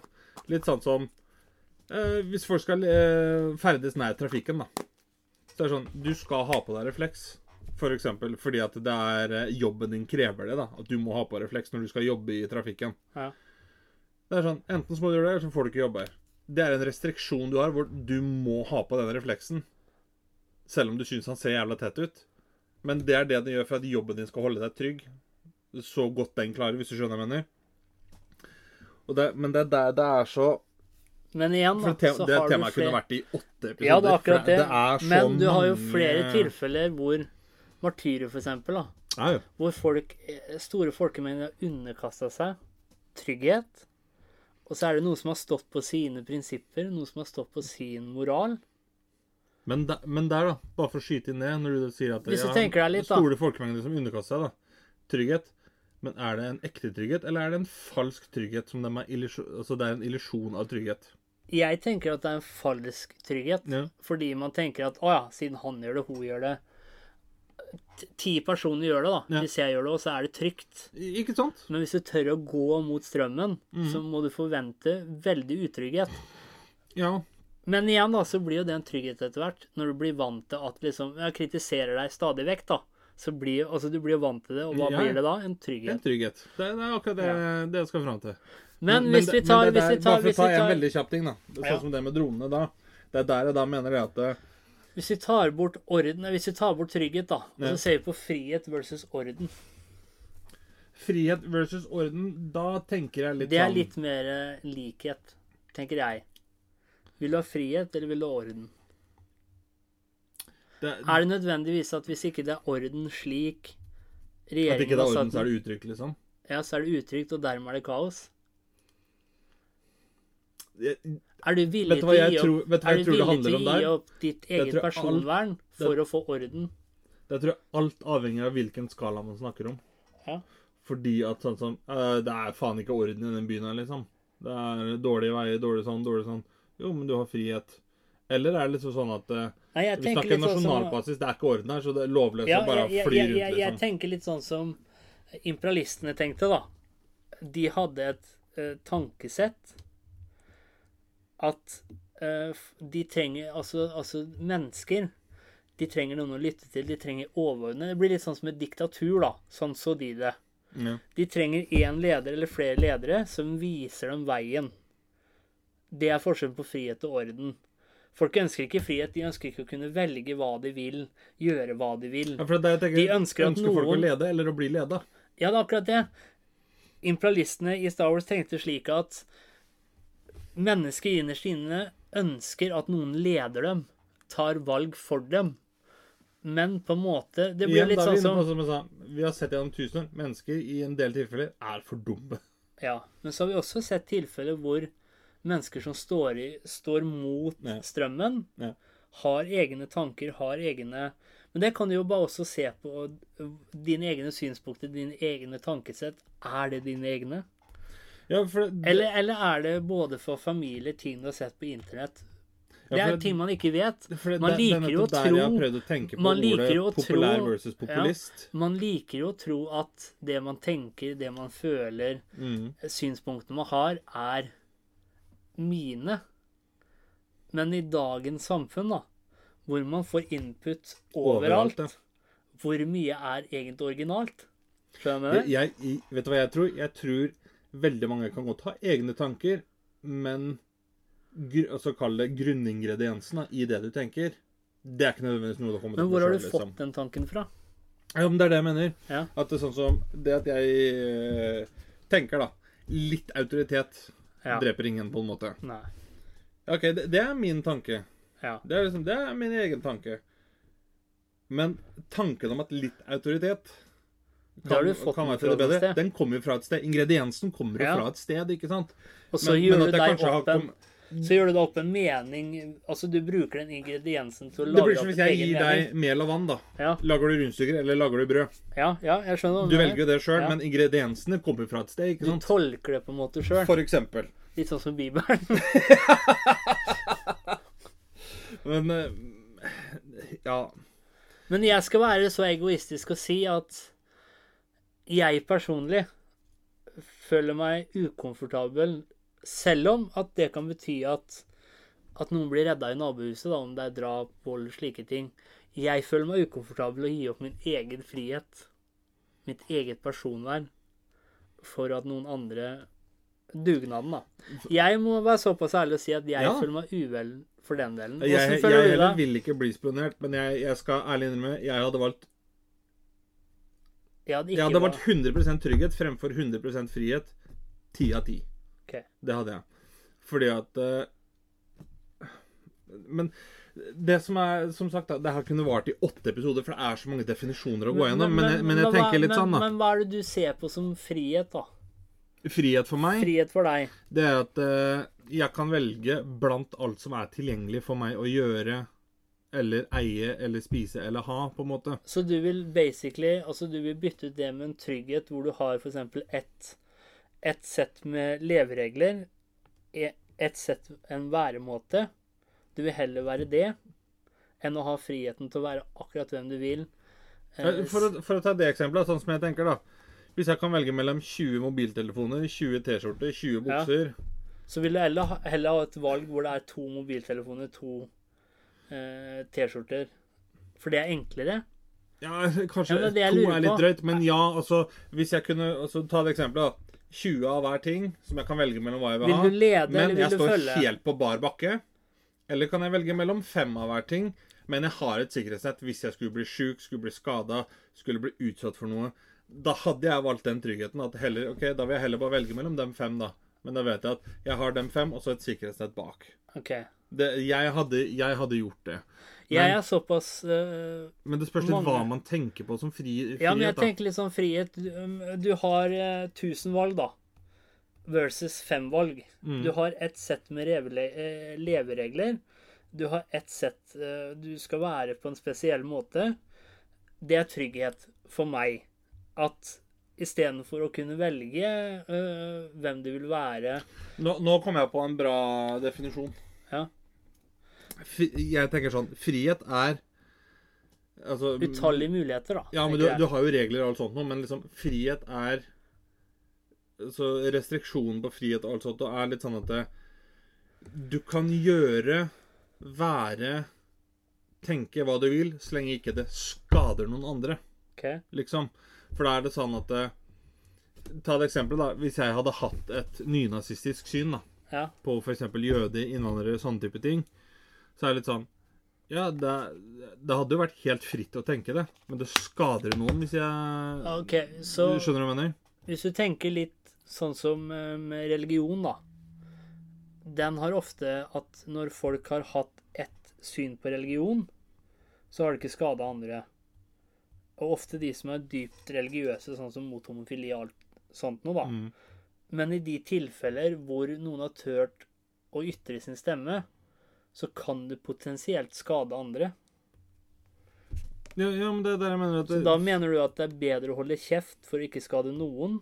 Speaker 2: Litt sånn som eh, hvis folk skal eh, ferdes nær trafikken, da. Så det er sånn, du skal ha på deg refleks. For eksempel fordi at det er eh, jobben din krever det, da. At du må ha på refleks når du skal jobbe i trafikken.
Speaker 1: Ja.
Speaker 2: Det er sånn, enten så må du gjøre det, eller så får du ikke jobbe her. Det er en restriksjon du har, hvor du må ha på denne refleksen. Selv om du syns han ser jævla tett ut. Men det er det den gjør for at jobben din skal holde deg trygg. Så godt den klarer, hvis du skjønner hva jeg mener. Og det, men det, er der det er så
Speaker 1: Men igjen,
Speaker 2: For
Speaker 1: da,
Speaker 2: det, te
Speaker 1: så
Speaker 2: det
Speaker 1: har du
Speaker 2: temaet
Speaker 1: flere-
Speaker 2: kunne vært i åtte episoder.
Speaker 1: Ja, det er
Speaker 2: for
Speaker 1: akkurat det.
Speaker 2: er sånn så
Speaker 1: Men du har jo
Speaker 2: mange-
Speaker 1: flere tilfeller hvor martyrer, for eksempel, da.
Speaker 2: Ja, jo.
Speaker 1: hvor folk, eh, store folkemengder har underkasta seg trygghet. Og så er det noe som har stått på sine prinsipper, noe som har stått på sin moral.
Speaker 2: Men, da- men der, da. Bare for å skyte inn det, når du sier at
Speaker 1: Hvis du tenker deg litt, da.
Speaker 2: store folkemengder som underkaster seg, da. Trygghet. Men er det en ekte trygghet, eller er det en falsk trygghet? som dem er illusjon, altså Det er en illusjon av trygghet.
Speaker 1: Jeg tenker at det er en falsk trygghet,
Speaker 2: Ja.
Speaker 1: fordi man tenker at å ja, siden han gjør det, hun gjør det T- Ti personer gjør det, da.
Speaker 2: Ja.
Speaker 1: Hvis jeg gjør det òg, så er det trygt.
Speaker 2: I- Ikke sant?
Speaker 1: Men hvis du tør å gå mot strømmen,
Speaker 2: Mhm.
Speaker 1: så må du forvente veldig utrygghet.
Speaker 2: Ja.
Speaker 1: Men igjen da, så blir jo det en trygghet etter hvert, når du blir vant til at liksom, jeg kritiserer deg stadig vekk da, så blir, altså du blir jo vant til det, og
Speaker 2: Ja,
Speaker 1: hva
Speaker 2: ja.
Speaker 1: blir det da? En
Speaker 2: En
Speaker 1: trygghet.
Speaker 2: trygghet. Det, det er akkurat det, det jeg skal fram til.
Speaker 1: Men, hvis vi tar,
Speaker 2: det
Speaker 1: hvis
Speaker 2: der-
Speaker 1: vi tar,
Speaker 2: Bare for å
Speaker 1: hvis
Speaker 2: ta
Speaker 1: vi
Speaker 2: en
Speaker 1: tar,
Speaker 2: veldig kjapp ting, da. Sånn
Speaker 1: Ja.
Speaker 2: som det med dronene, da. Det er der jeg da mener det at eh,
Speaker 1: hvis vi tar bort orden, nei, hvis vi tar bort trygghet da, og
Speaker 2: Ja.
Speaker 1: så ser vi på frihet versus orden,
Speaker 2: Frihet versus orden, da tenker jeg litt
Speaker 1: det er
Speaker 2: sånn-
Speaker 1: litt mer eh, likhet, tenker jeg. Vil du ha frihet, eller vil du ha orden?
Speaker 2: det,
Speaker 1: Er det nødvendigvis at hvis ikke det er orden slik
Speaker 2: At ikke
Speaker 1: regjeringen
Speaker 2: det
Speaker 1: har
Speaker 2: er orden,
Speaker 1: satt
Speaker 2: så er
Speaker 1: den,
Speaker 2: det uttrykk, liksom?
Speaker 1: ja, så er det utrygt, og dermed er det kaos?
Speaker 2: jeg,
Speaker 1: Er du villig
Speaker 2: Vet du
Speaker 1: til
Speaker 2: hva
Speaker 1: å
Speaker 2: jeg
Speaker 1: gi opp,
Speaker 2: tror- vet du hva
Speaker 1: er
Speaker 2: jeg
Speaker 1: du
Speaker 2: tror det
Speaker 1: villig
Speaker 2: handler
Speaker 1: til
Speaker 2: om
Speaker 1: å gi
Speaker 2: der?
Speaker 1: opp ditt eget
Speaker 2: tror alt-
Speaker 1: personvern for å få orden?
Speaker 2: jeg tror alt avhenger av hvilken skala man snakker om.
Speaker 1: Ja.
Speaker 2: Fordi at sånn som eh, Det er faen ikke orden i den byen her, liksom. Det er dårlige veier, dårlig sånn, dårlig sånn. Jo, men du har frihet. Eller er det liksom sånn at eh,
Speaker 1: Nei, jeg
Speaker 2: Vi
Speaker 1: tenker
Speaker 2: snakker
Speaker 1: litt sånn som-
Speaker 2: nasjonalbasis, det er ikke orden her, så det er lovløse
Speaker 1: Ja,
Speaker 2: bare
Speaker 1: jeg, jeg,
Speaker 2: flyr
Speaker 1: jeg, jeg,
Speaker 2: rundt,
Speaker 1: jeg
Speaker 2: liksom.
Speaker 1: tenker litt sånn som imperialistene tenkte, da. De hadde et eh, tankesett at eh, f- de trenger altså, altså mennesker De trenger noen å lytte til, de trenger overordnede. Det blir litt sånn som et diktatur, da. Sånn så de det.
Speaker 2: Ja.
Speaker 1: De trenger én leder eller flere ledere som viser dem veien. Det er forskjellen på frihet og orden. Folk ønsker ikke frihet, de ønsker ikke å kunne velge hva de vil, gjøre hva de vil.
Speaker 2: Ja, for det er det jeg tenker,
Speaker 1: De ønsker at
Speaker 2: folk å
Speaker 1: noen-
Speaker 2: lede eller å bli leda?
Speaker 1: Ja, det er akkurat det. Imperialistene i Star Wars tenkte slik at mennesker innerst inne ønsker at noen leder dem, tar valg for dem. Men på en måte Det blir
Speaker 2: Igjen,
Speaker 1: litt
Speaker 2: da er
Speaker 1: sånn
Speaker 2: vi inne
Speaker 1: som
Speaker 2: på, som jeg sa, vi har sett gjennom tusen år, mennesker i en del tilfeller er for dumme.
Speaker 1: Ja, men så har vi også sett tilfeller hvor mennesker som står, i, står mot
Speaker 2: Ja.
Speaker 1: strømmen,
Speaker 2: Ja.
Speaker 1: har egne tanker, har egne Men det kan du jo bare også se på dine egne synspunkter, dine egne tankesett. Er det dine egne?
Speaker 2: Ja, for det,
Speaker 1: Eller, eller er det både for familier, ting du har sett på internett?
Speaker 2: Ja,
Speaker 1: Det er
Speaker 2: for-
Speaker 1: ting man ikke vet.
Speaker 2: for det,
Speaker 1: Man
Speaker 2: det- det er
Speaker 1: liker jo å
Speaker 2: nettopp der jeg har
Speaker 1: tro
Speaker 2: prøvd å tenke på
Speaker 1: man liker jo
Speaker 2: ordet
Speaker 1: å tro-
Speaker 2: populær versus populist.
Speaker 1: Man liker jo å tro at det man tenker, det man føler,
Speaker 2: Mm.
Speaker 1: synspunktene man har, er mine. Men i dagens samfunn, da, hvor man får input overalt,
Speaker 2: Overalt, ja.
Speaker 1: hvor mye er egentlig originalt?
Speaker 2: Jeg,
Speaker 1: Skjønner du?
Speaker 2: jeg, i- vet du hva jeg tror? Jeg tror veldig mange kan godt ha egne tanker, men gr altså kall det grunningrediensene i det du tenker, det er ikke nødvendigvis noe du har kommet
Speaker 1: Men
Speaker 2: på
Speaker 1: hvor har
Speaker 2: selv,
Speaker 1: du
Speaker 2: liksom.
Speaker 1: fått den tanken fra?
Speaker 2: Ja, men det er det jeg mener.
Speaker 1: Ja.
Speaker 2: At det er sånn som Det at jeg eh, tenker, da. Litt autoritet
Speaker 1: Ja.
Speaker 2: dreper ingen, på en måte.
Speaker 1: Nei.
Speaker 2: Ja, OK, det, det er min tanke.
Speaker 1: Ja.
Speaker 2: Det er, liksom, det er min egen tanke. Men tanken om at litt autoritet
Speaker 1: Det har du fått
Speaker 2: kan
Speaker 1: den
Speaker 2: være til
Speaker 1: fra
Speaker 2: det
Speaker 1: noe
Speaker 2: bedre,
Speaker 1: sted.
Speaker 2: den kommer jo fra et sted. Ingrediensen kommer jo
Speaker 1: Ja.
Speaker 2: fra et sted, ikke sant?
Speaker 1: Og så
Speaker 2: Men-
Speaker 1: gjør
Speaker 2: men at
Speaker 1: du
Speaker 2: jeg
Speaker 1: deg
Speaker 2: kanskje har
Speaker 1: opp en
Speaker 2: kom-
Speaker 1: Så gjør du deg opp en mening Altså, du bruker den ingrediensen til å
Speaker 2: Det
Speaker 1: lage
Speaker 2: blir som
Speaker 1: opp
Speaker 2: hvis
Speaker 1: en
Speaker 2: jeg
Speaker 1: egen
Speaker 2: gir
Speaker 1: mening.
Speaker 2: deg mel og vann, da.
Speaker 1: Ja,
Speaker 2: Lager du rundstykker, eller lager du brød?
Speaker 1: ja, ja, jeg skjønner. hva
Speaker 2: Du
Speaker 1: mener.
Speaker 2: velger jo det sjøl,
Speaker 1: Ja.
Speaker 2: men ingrediensene kommer fra et sted, ikke
Speaker 1: Du
Speaker 2: sant?
Speaker 1: tolker det på en måte sjøl.
Speaker 2: For eksempel.
Speaker 1: Litt sånn som Bibelen.
Speaker 2: Men eh, Ja.
Speaker 1: Men jeg skal være så egoistisk og si at jeg personlig føler meg ukomfortabel, selv om at det kan bety at, at noen blir redda i nabohuset, da, om det er drap, vold, slike ting. Jeg føler meg ukomfortabel å gi opp min egen frihet, mitt eget personvern, for at noen andre Dugnaden, da. Jeg må være såpass ærlig og si at jeg
Speaker 2: Ja.
Speaker 1: føler meg uvel for den delen.
Speaker 2: Jeg,
Speaker 1: Åssen
Speaker 2: jeg
Speaker 1: føler du
Speaker 2: heller
Speaker 1: deg?
Speaker 2: vil ikke bli spionert, men jeg, jeg skal ærlig innrømme jeg hadde valgt,
Speaker 1: Jeg hadde
Speaker 2: jeg
Speaker 1: ikke
Speaker 2: hadde
Speaker 1: vært-
Speaker 2: valgt 100 trygghet fremfor 100 frihet. Ti av ti.
Speaker 1: Ok.
Speaker 2: Det hadde jeg. Fordi at eh, Men det som er Som sagt, da, det her kunne vart i åtte episoder, for det er så mange definisjoner å gå gjennom. Men, jeg- men jeg
Speaker 1: hva-
Speaker 2: tenker litt
Speaker 1: men,
Speaker 2: sånn, da.
Speaker 1: Men hva er det du ser på som frihet, da?
Speaker 2: Frihet for meg,
Speaker 1: Frihet for deg.
Speaker 2: det er at eh, jeg kan velge blant alt som er tilgjengelig for meg å gjøre eller eie eller spise eller ha, på en måte.
Speaker 1: Så du vil basically Altså, du vil bytte ut det med en trygghet hvor du har f.eks. ett et sett med leveregler, e- ett sett en væremåte. Du vil heller være det enn å ha friheten til å være akkurat hvem du vil. Eh,
Speaker 2: Ja, For å, for å ta det eksempelet, sånn som jeg tenker, da. Hvis jeg kan velge mellom 20 mobiltelefoner, 20 T-skjorter, 20
Speaker 1: Ja.
Speaker 2: bukser
Speaker 1: Så vil du heller, ha- heller ha et valg hvor det er to mobiltelefoner, to eh, T-skjorter. For det er enklere.
Speaker 2: Ja, kanskje
Speaker 1: Ja, men det jeg
Speaker 2: to
Speaker 1: lurer
Speaker 2: er litt
Speaker 1: på-
Speaker 2: drøyt, men ja, altså Hvis jeg kunne altså, Ta det eksempelet, da. 20 av hver ting som jeg kan velge mellom hva jeg vil,
Speaker 1: Vil
Speaker 2: ha.
Speaker 1: du lede, eller
Speaker 2: men
Speaker 1: vil
Speaker 2: jeg
Speaker 1: du
Speaker 2: står
Speaker 1: følge?
Speaker 2: helt på bar bakke. Eller kan jeg velge mellom fem av hver ting, men jeg har et sikkerhetsnett hvis jeg skulle bli sjuk, skulle bli skada, skulle bli utsatt for noe. Da hadde jeg valgt den tryggheten. At heller, ok, Da vil jeg heller bare velge mellom dem fem, da. Men da vet jeg at jeg har dem fem, og så et sikkerhetsnett bak.
Speaker 1: Ok.
Speaker 2: Det, jeg, hadde, jeg hadde gjort det.
Speaker 1: Jeg er såpass øh,
Speaker 2: Men det spørs litt hva
Speaker 1: Mange.
Speaker 2: man tenker på som fri, frihet.
Speaker 1: Ja, men jeg
Speaker 2: da.
Speaker 1: tenker litt sånn frihet. Du, um, du har øh, 1000 valg, eh, da. versus fem-valg.
Speaker 2: Mm.
Speaker 1: Du har et sett med revele- eh, leveregler. Du har et sett eh, Du skal være på en spesiell måte. Det er trygghet for meg. At istedenfor å kunne velge eh, hvem du vil være
Speaker 2: Nå, nå kom jeg på en bra definisjon.
Speaker 1: Ja.
Speaker 2: Fri, jeg tenker sånn Frihet er altså,
Speaker 1: Utallige muligheter, da.
Speaker 2: Ja, men du,
Speaker 1: tenker jeg.
Speaker 2: du har jo regler og alt sånt noe, men liksom frihet er Så restriksjonen på frihet og alt sånt og er litt sånn at det, du kan gjøre, være, tenke hva du vil, så lenge ikke det skader noen andre,
Speaker 1: Ok.
Speaker 2: liksom. For da er det sånn at eh, Ta et eksempel, da. Hvis jeg hadde hatt et nynazistisk syn, da
Speaker 1: Ja.
Speaker 2: på f.eks. jøder, innvandrere, sånne type ting, så er det litt sånn Ja, det, det hadde jo vært helt fritt å tenke det, men det skader noen hvis jeg
Speaker 1: OK, så
Speaker 2: Du Skjønner du hva jeg mener?
Speaker 1: Hvis du tenker litt sånn som eh, med religion, da. Den har ofte at når folk har hatt ett syn på religion, så har det ikke skada andre. Og ofte de som er dypt religiøse, sånn som mot homofili og alt sånt noe, da.
Speaker 2: Mm.
Speaker 1: Men i de tilfeller hvor noen har tørt å ytre sin stemme, så kan det potensielt skade andre.
Speaker 2: Ja, ja, men det er der jeg mener at
Speaker 1: Så
Speaker 2: det,
Speaker 1: da mener du at det er bedre å holde kjeft for å ikke skade noen,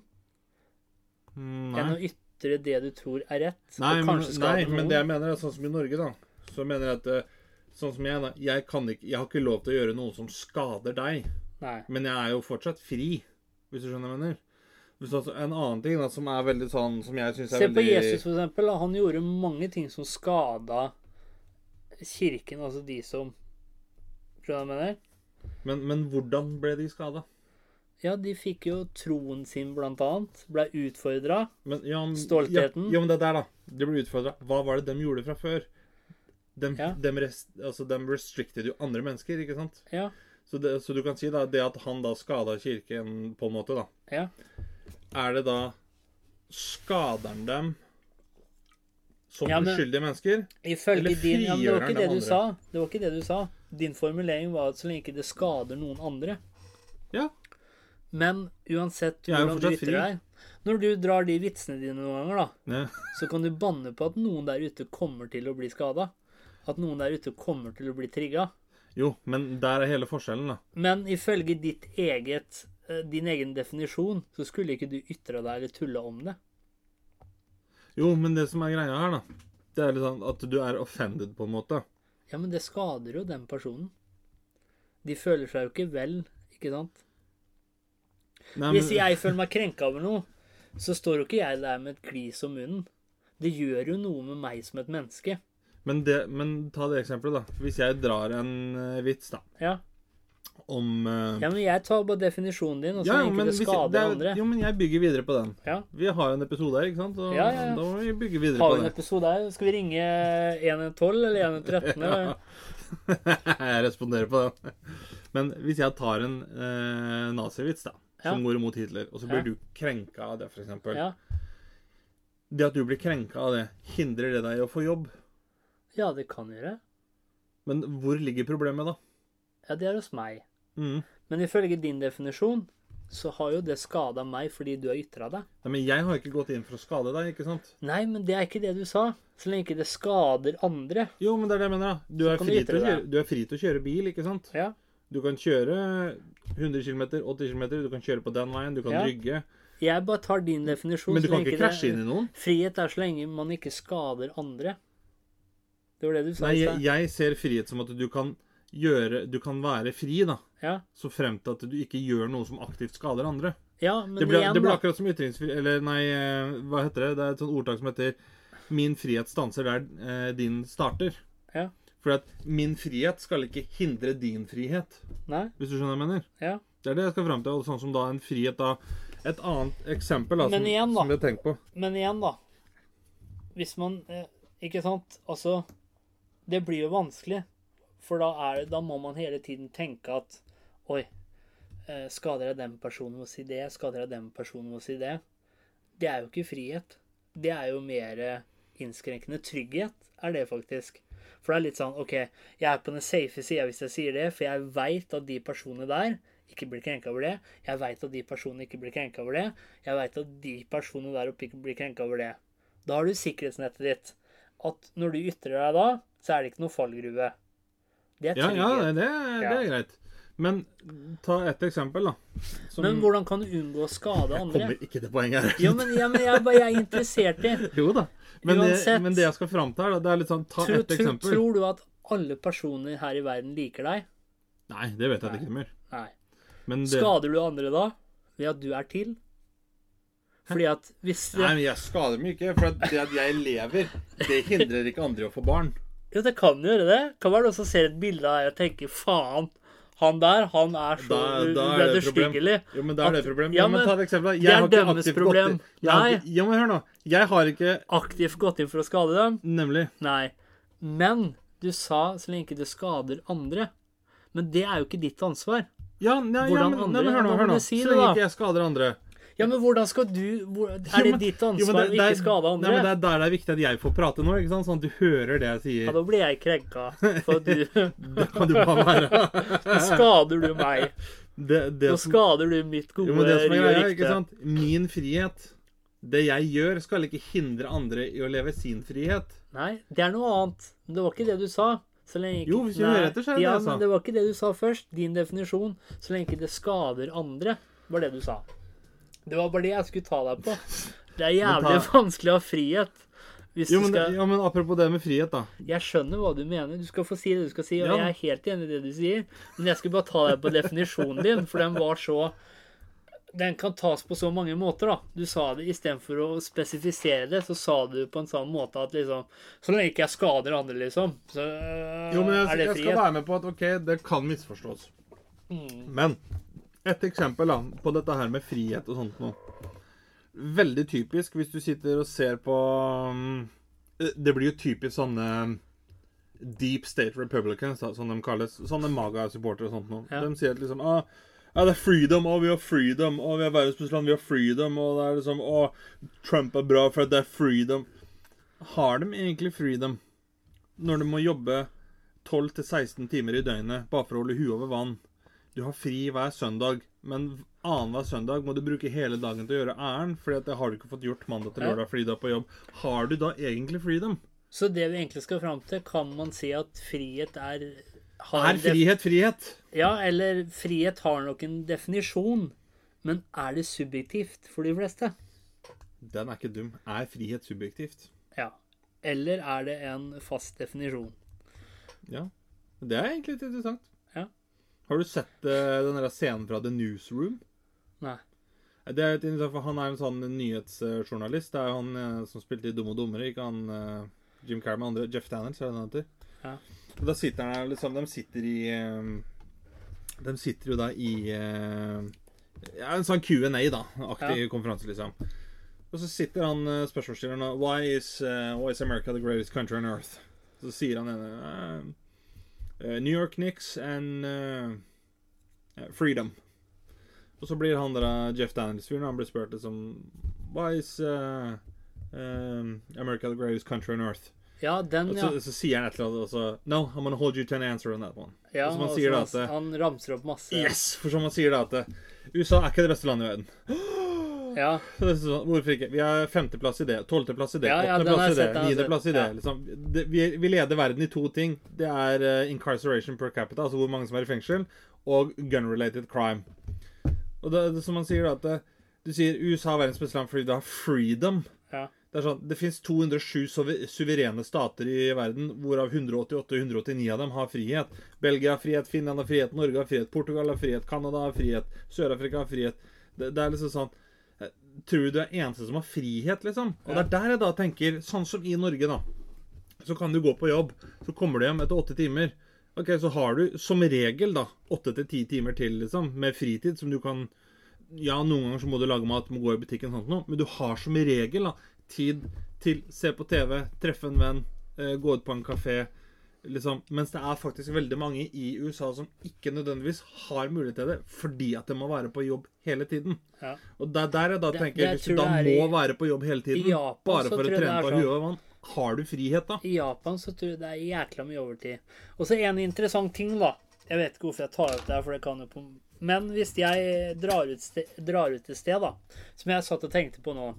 Speaker 2: Mm,
Speaker 1: enn
Speaker 2: Nei,
Speaker 1: å ytre det du tror er rett.
Speaker 2: nei,
Speaker 1: og
Speaker 2: men,
Speaker 1: kanskje
Speaker 2: nei
Speaker 1: skade
Speaker 2: men
Speaker 1: noen.
Speaker 2: det jeg mener, er sånn som i Norge, da. Så mener jeg at eh, Sånn som jeg, da. Jeg, kan ikke, jeg har ikke lov til å gjøre noe som skader deg.
Speaker 1: Nei.
Speaker 2: Men jeg er jo fortsatt fri, hvis du skjønner hva jeg mener. Hvis altså, en annen ting da, som er veldig sånn Som jeg syns er
Speaker 1: Se på
Speaker 2: veldig
Speaker 1: Jesus, for eksempel. da. Han gjorde mange ting som skada kirken, altså de som Skjønner du hva jeg mener?
Speaker 2: Men, men hvordan ble de skada?
Speaker 1: Ja, de fikk jo troen sin, blant annet. Blei utfordra.
Speaker 2: Men, ja, men-
Speaker 1: Stoltheten.
Speaker 2: Ja, ja, men det der, da. De ble utfordra. Hva var det de gjorde fra før? De,
Speaker 1: Ja.
Speaker 2: rest, altså, dem restricted jo andre mennesker, ikke sant?
Speaker 1: Ja.
Speaker 2: Så, det, så du kan si da, det at han da skada kirken, på en måte, da
Speaker 1: Ja.
Speaker 2: Er det da Skader han dem som
Speaker 1: Ja, men-
Speaker 2: uskyldige mennesker?
Speaker 1: Ifølge
Speaker 2: Eller
Speaker 1: din ja, men Det var
Speaker 2: frigjør
Speaker 1: ikke
Speaker 2: den
Speaker 1: det du
Speaker 2: andre.
Speaker 1: sa. Det var ikke det du sa. Din formulering var at så lenge ikke det skader noen andre.
Speaker 2: Ja.
Speaker 1: Men uansett
Speaker 2: Jeg er jo
Speaker 1: hvordan du
Speaker 2: fortsatt
Speaker 1: ytrer
Speaker 2: fri.
Speaker 1: deg Når du drar de vitsene dine noen ganger, da,
Speaker 2: Ja.
Speaker 1: så kan du banne på at noen der ute kommer til å bli skada. At noen der ute kommer til å bli trigga.
Speaker 2: Jo, men der er hele forskjellen, da.
Speaker 1: Men ifølge ditt eget, eh, din egen definisjon, så skulle ikke du ytre deg eller tulle om det.
Speaker 2: Jo, men det som er greia her, da, det er litt sånn at du er offended, på en måte.
Speaker 1: Ja, men det skader jo den personen. De føler seg jo ikke vel, ikke sant?
Speaker 2: Nei,
Speaker 1: Hvis jeg føler meg krenka over noe, så står jo ikke jeg der med et glis om munnen. Det gjør jo noe med meg som et menneske.
Speaker 2: men, det, men ta det eksempelet, da. Hvis jeg drar en eh, vits, da.
Speaker 1: Ja,
Speaker 2: om eh,
Speaker 1: ja men jeg tar bare definisjonen din, og så
Speaker 2: ja,
Speaker 1: lenge
Speaker 2: men
Speaker 1: det
Speaker 2: hvis-
Speaker 1: skader
Speaker 2: det er-
Speaker 1: andre.
Speaker 2: Jo, men jeg bygger videre på den.
Speaker 1: Ja.
Speaker 2: Vi har jo en episode her, ikke sant? Og
Speaker 1: Ja, ja, ja.
Speaker 2: Da må vi bygge videre
Speaker 1: Har
Speaker 2: på
Speaker 1: vi en
Speaker 2: det.
Speaker 1: episode her? Skal vi ringe 112 eller 113? eller?
Speaker 2: jeg responderer på den. Men hvis jeg tar en eh, nazivits, da, som
Speaker 1: Ja.
Speaker 2: går imot Hitler, og så blir
Speaker 1: Ja.
Speaker 2: du krenka av det, for eksempel.
Speaker 1: Ja.
Speaker 2: Det at du blir krenka av det, hindrer det deg i å få jobb.
Speaker 1: ja, det kan gjøre.
Speaker 2: Men hvor ligger problemet, da?
Speaker 1: Ja, det er hos meg.
Speaker 2: Mm.
Speaker 1: Men ifølge din definisjon så har jo det skada meg fordi du har ytra deg.
Speaker 2: Nei, men jeg har ikke gått inn for å skade deg, ikke sant?
Speaker 1: Nei, men det er ikke det du sa. Så lenge ikke det skader andre.
Speaker 2: Jo, men det er det jeg mener, da. Du
Speaker 1: Så
Speaker 2: er,
Speaker 1: kan du
Speaker 2: fri til å
Speaker 1: ytre
Speaker 2: kjøre,
Speaker 1: deg.
Speaker 2: du er fri til å kjøre bil, ikke sant?
Speaker 1: Ja.
Speaker 2: Du kan kjøre 100 km, 80 km, du kan kjøre på den veien, du kan
Speaker 1: Ja.
Speaker 2: rygge.
Speaker 1: Jeg bare tar din definisjon.
Speaker 2: Men du
Speaker 1: så
Speaker 2: kan
Speaker 1: lenge
Speaker 2: ikke krasje inn i noen.
Speaker 1: Frihet er så lenge man ikke skader andre. Det var det du sa
Speaker 2: Nei,
Speaker 1: i
Speaker 2: jeg,
Speaker 1: stad.
Speaker 2: jeg ser frihet som at du kan gjøre Du kan være fri, da.
Speaker 1: Ja.
Speaker 2: Så frem til at du ikke gjør noe som aktivt skader andre.
Speaker 1: ja, men
Speaker 2: Det ble,
Speaker 1: igjen,
Speaker 2: det ble
Speaker 1: da.
Speaker 2: akkurat som ytringsfrihet Eller nei, eh, hva heter det? Det er et sånt ordtak som heter 'Min frihet stanser der eh, din starter'.
Speaker 1: Ja.
Speaker 2: For at min frihet skal ikke hindre din frihet,
Speaker 1: Nei?
Speaker 2: hvis du skjønner hva jeg mener.
Speaker 1: Ja.
Speaker 2: Det er det jeg skal fram til. og Sånn som da en frihet da Et annet eksempel da,
Speaker 1: Men
Speaker 2: som,
Speaker 1: igjen, da.
Speaker 2: som vi har tenkt på.
Speaker 1: Men igjen, da. Hvis man eh, Ikke sant? Altså Det blir jo vanskelig. For da, er det, da må man hele tiden tenke at Oi, eh, skader jeg den personen med å si det? Skader jeg den personen med å si det? Det er jo ikke frihet. Det er jo mer eh, innskrenkende trygghet, er det faktisk. For det er litt sånn OK, jeg er på den safe sida hvis jeg sier det, for jeg veit at de personene der ikke blir krenka over det. Jeg veit at de personene ikke blir krenka over det. Jeg veit at de personene der oppe ikke blir krenka over det. Da har du sikkerhetsnettet ditt. At når du ytrer deg da, så er det ikke noe fallgruve. Det er
Speaker 2: Ja, ja,
Speaker 1: trygghet.
Speaker 2: det, det er greit. Men ta et eksempel, da. Som
Speaker 1: Men hvordan kan du unngå å skade andre?
Speaker 2: kommer ikke til poenget her.
Speaker 1: Ja, men, ja, men jeg, er bare- jeg er interessert i
Speaker 2: Jo da. Men det,
Speaker 1: Uansett.
Speaker 2: men det jeg skal fram til her, da, det er litt sånn Ta
Speaker 1: tror,
Speaker 2: et
Speaker 1: tror,
Speaker 2: eksempel.
Speaker 1: tror du at alle personer her i verden liker deg?
Speaker 2: Nei, det vet jeg at det ikke mer.
Speaker 1: Nei.
Speaker 2: Men det
Speaker 1: Skader du andre da ved at du er til? Fordi at hvis
Speaker 2: Nei, men jeg skader meg ikke, for at det at jeg lever, det hindrer ikke andre i å få barn.
Speaker 1: Jo, det kan gjøre det. Kan være det også ser et bilde av deg og tenker faen, han der, han er så
Speaker 2: Da- da er det et problem.
Speaker 1: uederstyggelig.
Speaker 2: Jo, men da er det
Speaker 1: At-
Speaker 2: et problem.
Speaker 1: ja,
Speaker 2: Ja, men
Speaker 1: men
Speaker 2: ta et eksempel. da.
Speaker 1: det er
Speaker 2: Jeg har ikke
Speaker 1: deres
Speaker 2: aktivt
Speaker 1: problem.
Speaker 2: gått i- Jeg har
Speaker 1: Nei.
Speaker 2: ikke- Ja, men hør nå. Jeg har ikke
Speaker 1: Aktivt gått inn for å skade dem?
Speaker 2: Nemlig.
Speaker 1: Nei. Men du sa så lenge du skader andre. Men det er jo ikke ditt ansvar.
Speaker 2: Ja, nei, ja,
Speaker 1: Hvordan
Speaker 2: men,
Speaker 1: andre-
Speaker 2: nei, men hør nå.
Speaker 1: da må
Speaker 2: Hør
Speaker 1: du
Speaker 2: nå.
Speaker 1: si
Speaker 2: Så
Speaker 1: det,
Speaker 2: lenge
Speaker 1: da.
Speaker 2: ikke jeg skader andre.
Speaker 1: Ja, men hvordan skal du hvor-
Speaker 2: Jo,
Speaker 1: Er det
Speaker 2: men-
Speaker 1: ditt
Speaker 2: jo, men
Speaker 1: ansvar å
Speaker 2: det- det er-
Speaker 1: ikke skade
Speaker 2: Nei, men det
Speaker 1: andre?
Speaker 2: er der det er viktig at jeg får prate nå, ikke sant? sånn at du hører det jeg
Speaker 1: Ja,
Speaker 2: sier.
Speaker 1: da blir jeg krenka. For du
Speaker 2: Det kan du bare være.
Speaker 1: skader du meg.
Speaker 2: Det, det
Speaker 1: Nå
Speaker 2: som,
Speaker 1: skader du mitt gode
Speaker 2: jo, men det som er
Speaker 1: ry og
Speaker 2: greia, ikke
Speaker 1: rykte.
Speaker 2: sant? Min frihet, det jeg gjør, skal ikke hindre andre i å leve sin frihet.
Speaker 1: Nei, det er noe annet. Men Det var ikke det du sa. Så lenge ikke-
Speaker 2: Jo, hvis du
Speaker 1: Nei.
Speaker 2: hører etter, så er det
Speaker 1: ja,
Speaker 2: det jeg sa.
Speaker 1: men det var ikke det du sa først. Din definisjon. Så lenge ikke det skader andre, var det du sa. Det var bare det jeg skulle ta deg på. Det er
Speaker 2: Men ta-
Speaker 1: jævlig vanskelig å ha frihet. Hvis
Speaker 2: Jo,
Speaker 1: du
Speaker 2: men,
Speaker 1: skal
Speaker 2: ja, men apropos det med frihet, da.
Speaker 1: Jeg skjønner hva du mener. Du skal få si det du skal si, og
Speaker 2: Ja.
Speaker 1: jeg er helt enig i det du sier. Men jeg skulle bare ta deg på definisjonen din, for den var så Den kan tas på så mange måter, da. Du sa det istedenfor å spesifisere det, så sa du på en sånn måte at liksom Så lenge ikke jeg skader andre, liksom, så øh,
Speaker 2: Jo, men jeg,
Speaker 1: er det
Speaker 2: jeg skal
Speaker 1: frihet. Mm.
Speaker 2: være med på at ok, det kan misforstås. Men et eksempel da, på dette her med frihet og sånt noe. Veldig typisk hvis du sitter og ser på mm, Det blir jo typisk sånne mm, Deep State Republicans, da, som de kalles. Sånne MAGA-supportere og sånt noe.
Speaker 1: Ja.
Speaker 2: De sier at liksom ah, ja, det er freedom, og vi har freedom, og vi er verdens beste land, vi har freedom, og det er liksom Å, Trump er bra for at det er freedom. Har de egentlig freedom når de må jobbe 12-16 timer i døgnet bare for å holde huet over vann? Du har fri hver søndag, men annenhver søndag må du bruke hele dagen til å gjøre æren, fordi at det har du ikke fått gjort mandag til
Speaker 1: Ja.
Speaker 2: lørdag fordi du er på jobb. Har du da egentlig freedom?
Speaker 1: Så det vi egentlig skal fram til, kan man si at frihet er har en
Speaker 2: Er
Speaker 1: def-
Speaker 2: frihet frihet?
Speaker 1: Ja, eller frihet har nok en definisjon, men er det subjektivt for de fleste?
Speaker 2: Den er ikke dum. Er frihet subjektivt?
Speaker 1: Ja. Eller er det en fast definisjon?
Speaker 2: Ja. Det er egentlig litt interessant.
Speaker 1: Ja.
Speaker 2: Har du sett eh, den der scenen fra The Newsroom?
Speaker 1: Nei.
Speaker 2: Det er litt interessant, for Han er en sånn nyhetsjournalist. Det er jo han eh, som spilte i Dumme og dummere, ikke han eh, Jim Carrey med andre. Jeff Daniels, er det han heter?
Speaker 1: Ja.
Speaker 2: Og Da sitter han her, liksom, De sitter i eh, De sitter jo da i eh, ja, En sånn Q&A, da. Aktig konferanse, liksom. Og så sitter han eh, spørsmålsstilleren og why is, eh, why is America the greatest country on earth? Så sier han ene eh, eh, New York Knicks and eh, freedom. Og så blir han der eh, Jeff Daniels-fyren Han blir spurt liksom Why is eh, um, America the greatest country on earth?
Speaker 1: Ja, den,
Speaker 2: Og
Speaker 1: ja.
Speaker 2: så, så sier han et eller annet og så No, I'm gonna hold you to an answer on that one.
Speaker 1: ja
Speaker 2: og så man
Speaker 1: og
Speaker 2: sier
Speaker 1: så
Speaker 2: da
Speaker 1: han-
Speaker 2: at det-
Speaker 1: Han ramser opp masse.
Speaker 2: Yes! For som han sier da at eh, USA er ikke det beste landet i verden.
Speaker 1: Ja,
Speaker 2: Så det er sånn, Hvorfor ikke? Vi har femteplass i det, tolvteplass i det,
Speaker 1: Ja, ja, den har
Speaker 2: åttendeplass i
Speaker 1: jeg
Speaker 2: det,
Speaker 1: sett, den har jeg
Speaker 2: niendeplass i
Speaker 1: sett,
Speaker 2: det.
Speaker 1: ja.
Speaker 2: Liksom, det vi, vi leder verden i to ting. Det er eh, incarceration per capita, altså hvor mange som er i fengsel, og gun-related crime. Og det, det som han sier da at eh, Du sier USA er verdens beste land fordi du har freedom.
Speaker 1: ja.
Speaker 2: Det er sånn, det finnes 207 sover- suverene stater i verden, hvorav 188 189 av dem har frihet. Belgia har frihet, Finland har frihet, Norge har frihet, Portugal har frihet, Canada har frihet, Sør-Afrika har frihet. Det, det er liksom sånn eh, Tror du du er eneste som har frihet, liksom? Og det er der jeg da tenker, sånn som i Norge, da. Så kan du gå på jobb, så kommer du hjem etter åtte timer. Ok, så har du som regel da åtte til ti timer til, liksom, med fritid som du kan ja, noen ganger så må du lage mat, må gå i butikken, sånt noe, men du har som regel da, tid til se på TV, treffe en venn, eh, gå ut på en kafé. Liksom. Mens det er faktisk veldig mange i USA som ikke nødvendigvis har mulighet til det, fordi at de må være på jobb hele tiden.
Speaker 1: Ja.
Speaker 2: Og det er der jeg da
Speaker 1: Det-
Speaker 2: tenker,
Speaker 1: det
Speaker 2: hvis du
Speaker 1: tror
Speaker 2: da
Speaker 1: jeg er
Speaker 2: må
Speaker 1: i-
Speaker 2: være på jobb hele tiden,
Speaker 1: i Japan så
Speaker 2: bare for å
Speaker 1: tror jeg det
Speaker 2: trene
Speaker 1: er
Speaker 2: på
Speaker 1: sånn.
Speaker 2: huet og vann, har du frihet da?
Speaker 1: I Japan så tror jeg det er jækla mye overtid. Og så en interessant ting, da. Jeg vet ikke hvorfor jeg tar opp det her, for det kan jo på Men hvis jeg drar ut, ste, drar ut et sted, da, som jeg satt og tenkte på nå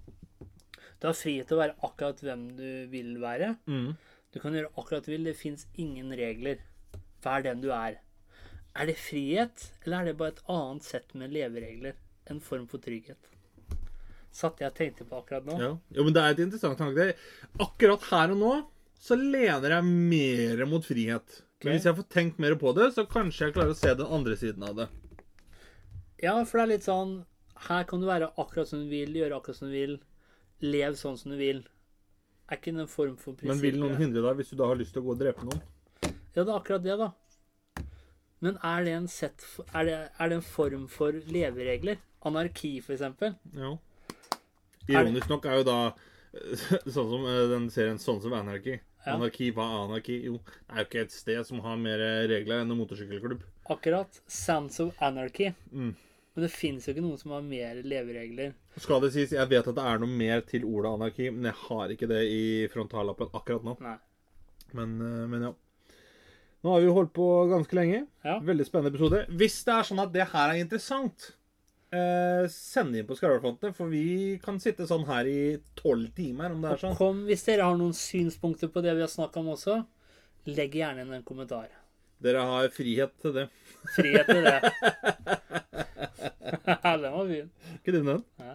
Speaker 1: Du har frihet til å være akkurat hvem du vil være.
Speaker 2: Mm.
Speaker 1: Du kan gjøre akkurat du vil. Det fins ingen regler. Vær den du er. Er det frihet, eller er det bare et annet sett med leveregler? En form for trygghet. Satt jeg og tenkte på akkurat nå.
Speaker 2: Ja. Jo, men det er et interessant tanke. Akkurat her og nå så lener jeg mer mot frihet. Men
Speaker 1: Ok.
Speaker 2: hvis jeg får tenkt mer på det, så kanskje jeg klarer å se den andre siden av det.
Speaker 1: Ja, for det er litt sånn Her kan du være akkurat som du vil, gjøre akkurat som du vil, lev sånn som du vil. Er ikke det en form for prinsipp?
Speaker 2: Men vil noen hindre deg hvis du da har lyst til å gå og drepe noen?
Speaker 1: Ja, det er akkurat det, da. Men er det en, sett, er det, er det en form for leveregler? Anarki, for eksempel?
Speaker 2: Ja. Ironisk nok er jo da sånn som eh, den serien Sånn som anarki.
Speaker 1: Ja.
Speaker 2: Anarki, hva er anarki? Jo, det er jo ikke et sted som har mer regler enn en motorsykkelklubb.
Speaker 1: Akkurat. Sands of anarchy.
Speaker 2: Mm.
Speaker 1: Men det fins jo ikke noen som har mer leveregler.
Speaker 2: Skal det sies, jeg vet at det er noe mer til ordet anarki, men jeg har ikke det i frontallappen akkurat nå.
Speaker 1: Nei.
Speaker 2: Men, eh, men ja. Nå har vi jo holdt på ganske lenge.
Speaker 1: Ja.
Speaker 2: Veldig spennende episode. Hvis det er sånn at det her er interessant, eh, send inn på Skarvelfrontet, for vi kan sitte sånn her i tolv timer om det er sånn.
Speaker 1: Kom, hvis dere har noen synspunkter på det vi har snakka om også, legg gjerne inn en kommentar.
Speaker 2: Dere har frihet til det.
Speaker 1: Frihet til det. Den var fin.
Speaker 2: Ikke din den.
Speaker 1: Nei.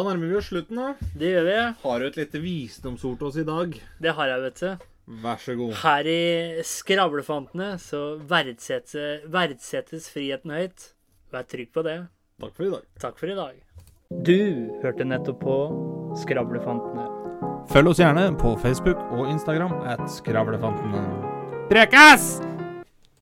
Speaker 2: Da nærmer vi oss slutten, da.
Speaker 1: Det gjør vi.
Speaker 2: Har du et lite visdomsord til oss i dag?
Speaker 1: Det har jeg, vet du.
Speaker 2: Vær så god.
Speaker 1: Her i Skravlefantene så verdsette- verdsettes friheten høyt. Vær trygg på det.
Speaker 2: Takk for i dag.
Speaker 1: Takk for i dag. Du hørte nettopp på Skravlefantene.
Speaker 2: Følg oss gjerne på Facebook og Instagram at Skravlefantene. Prekas!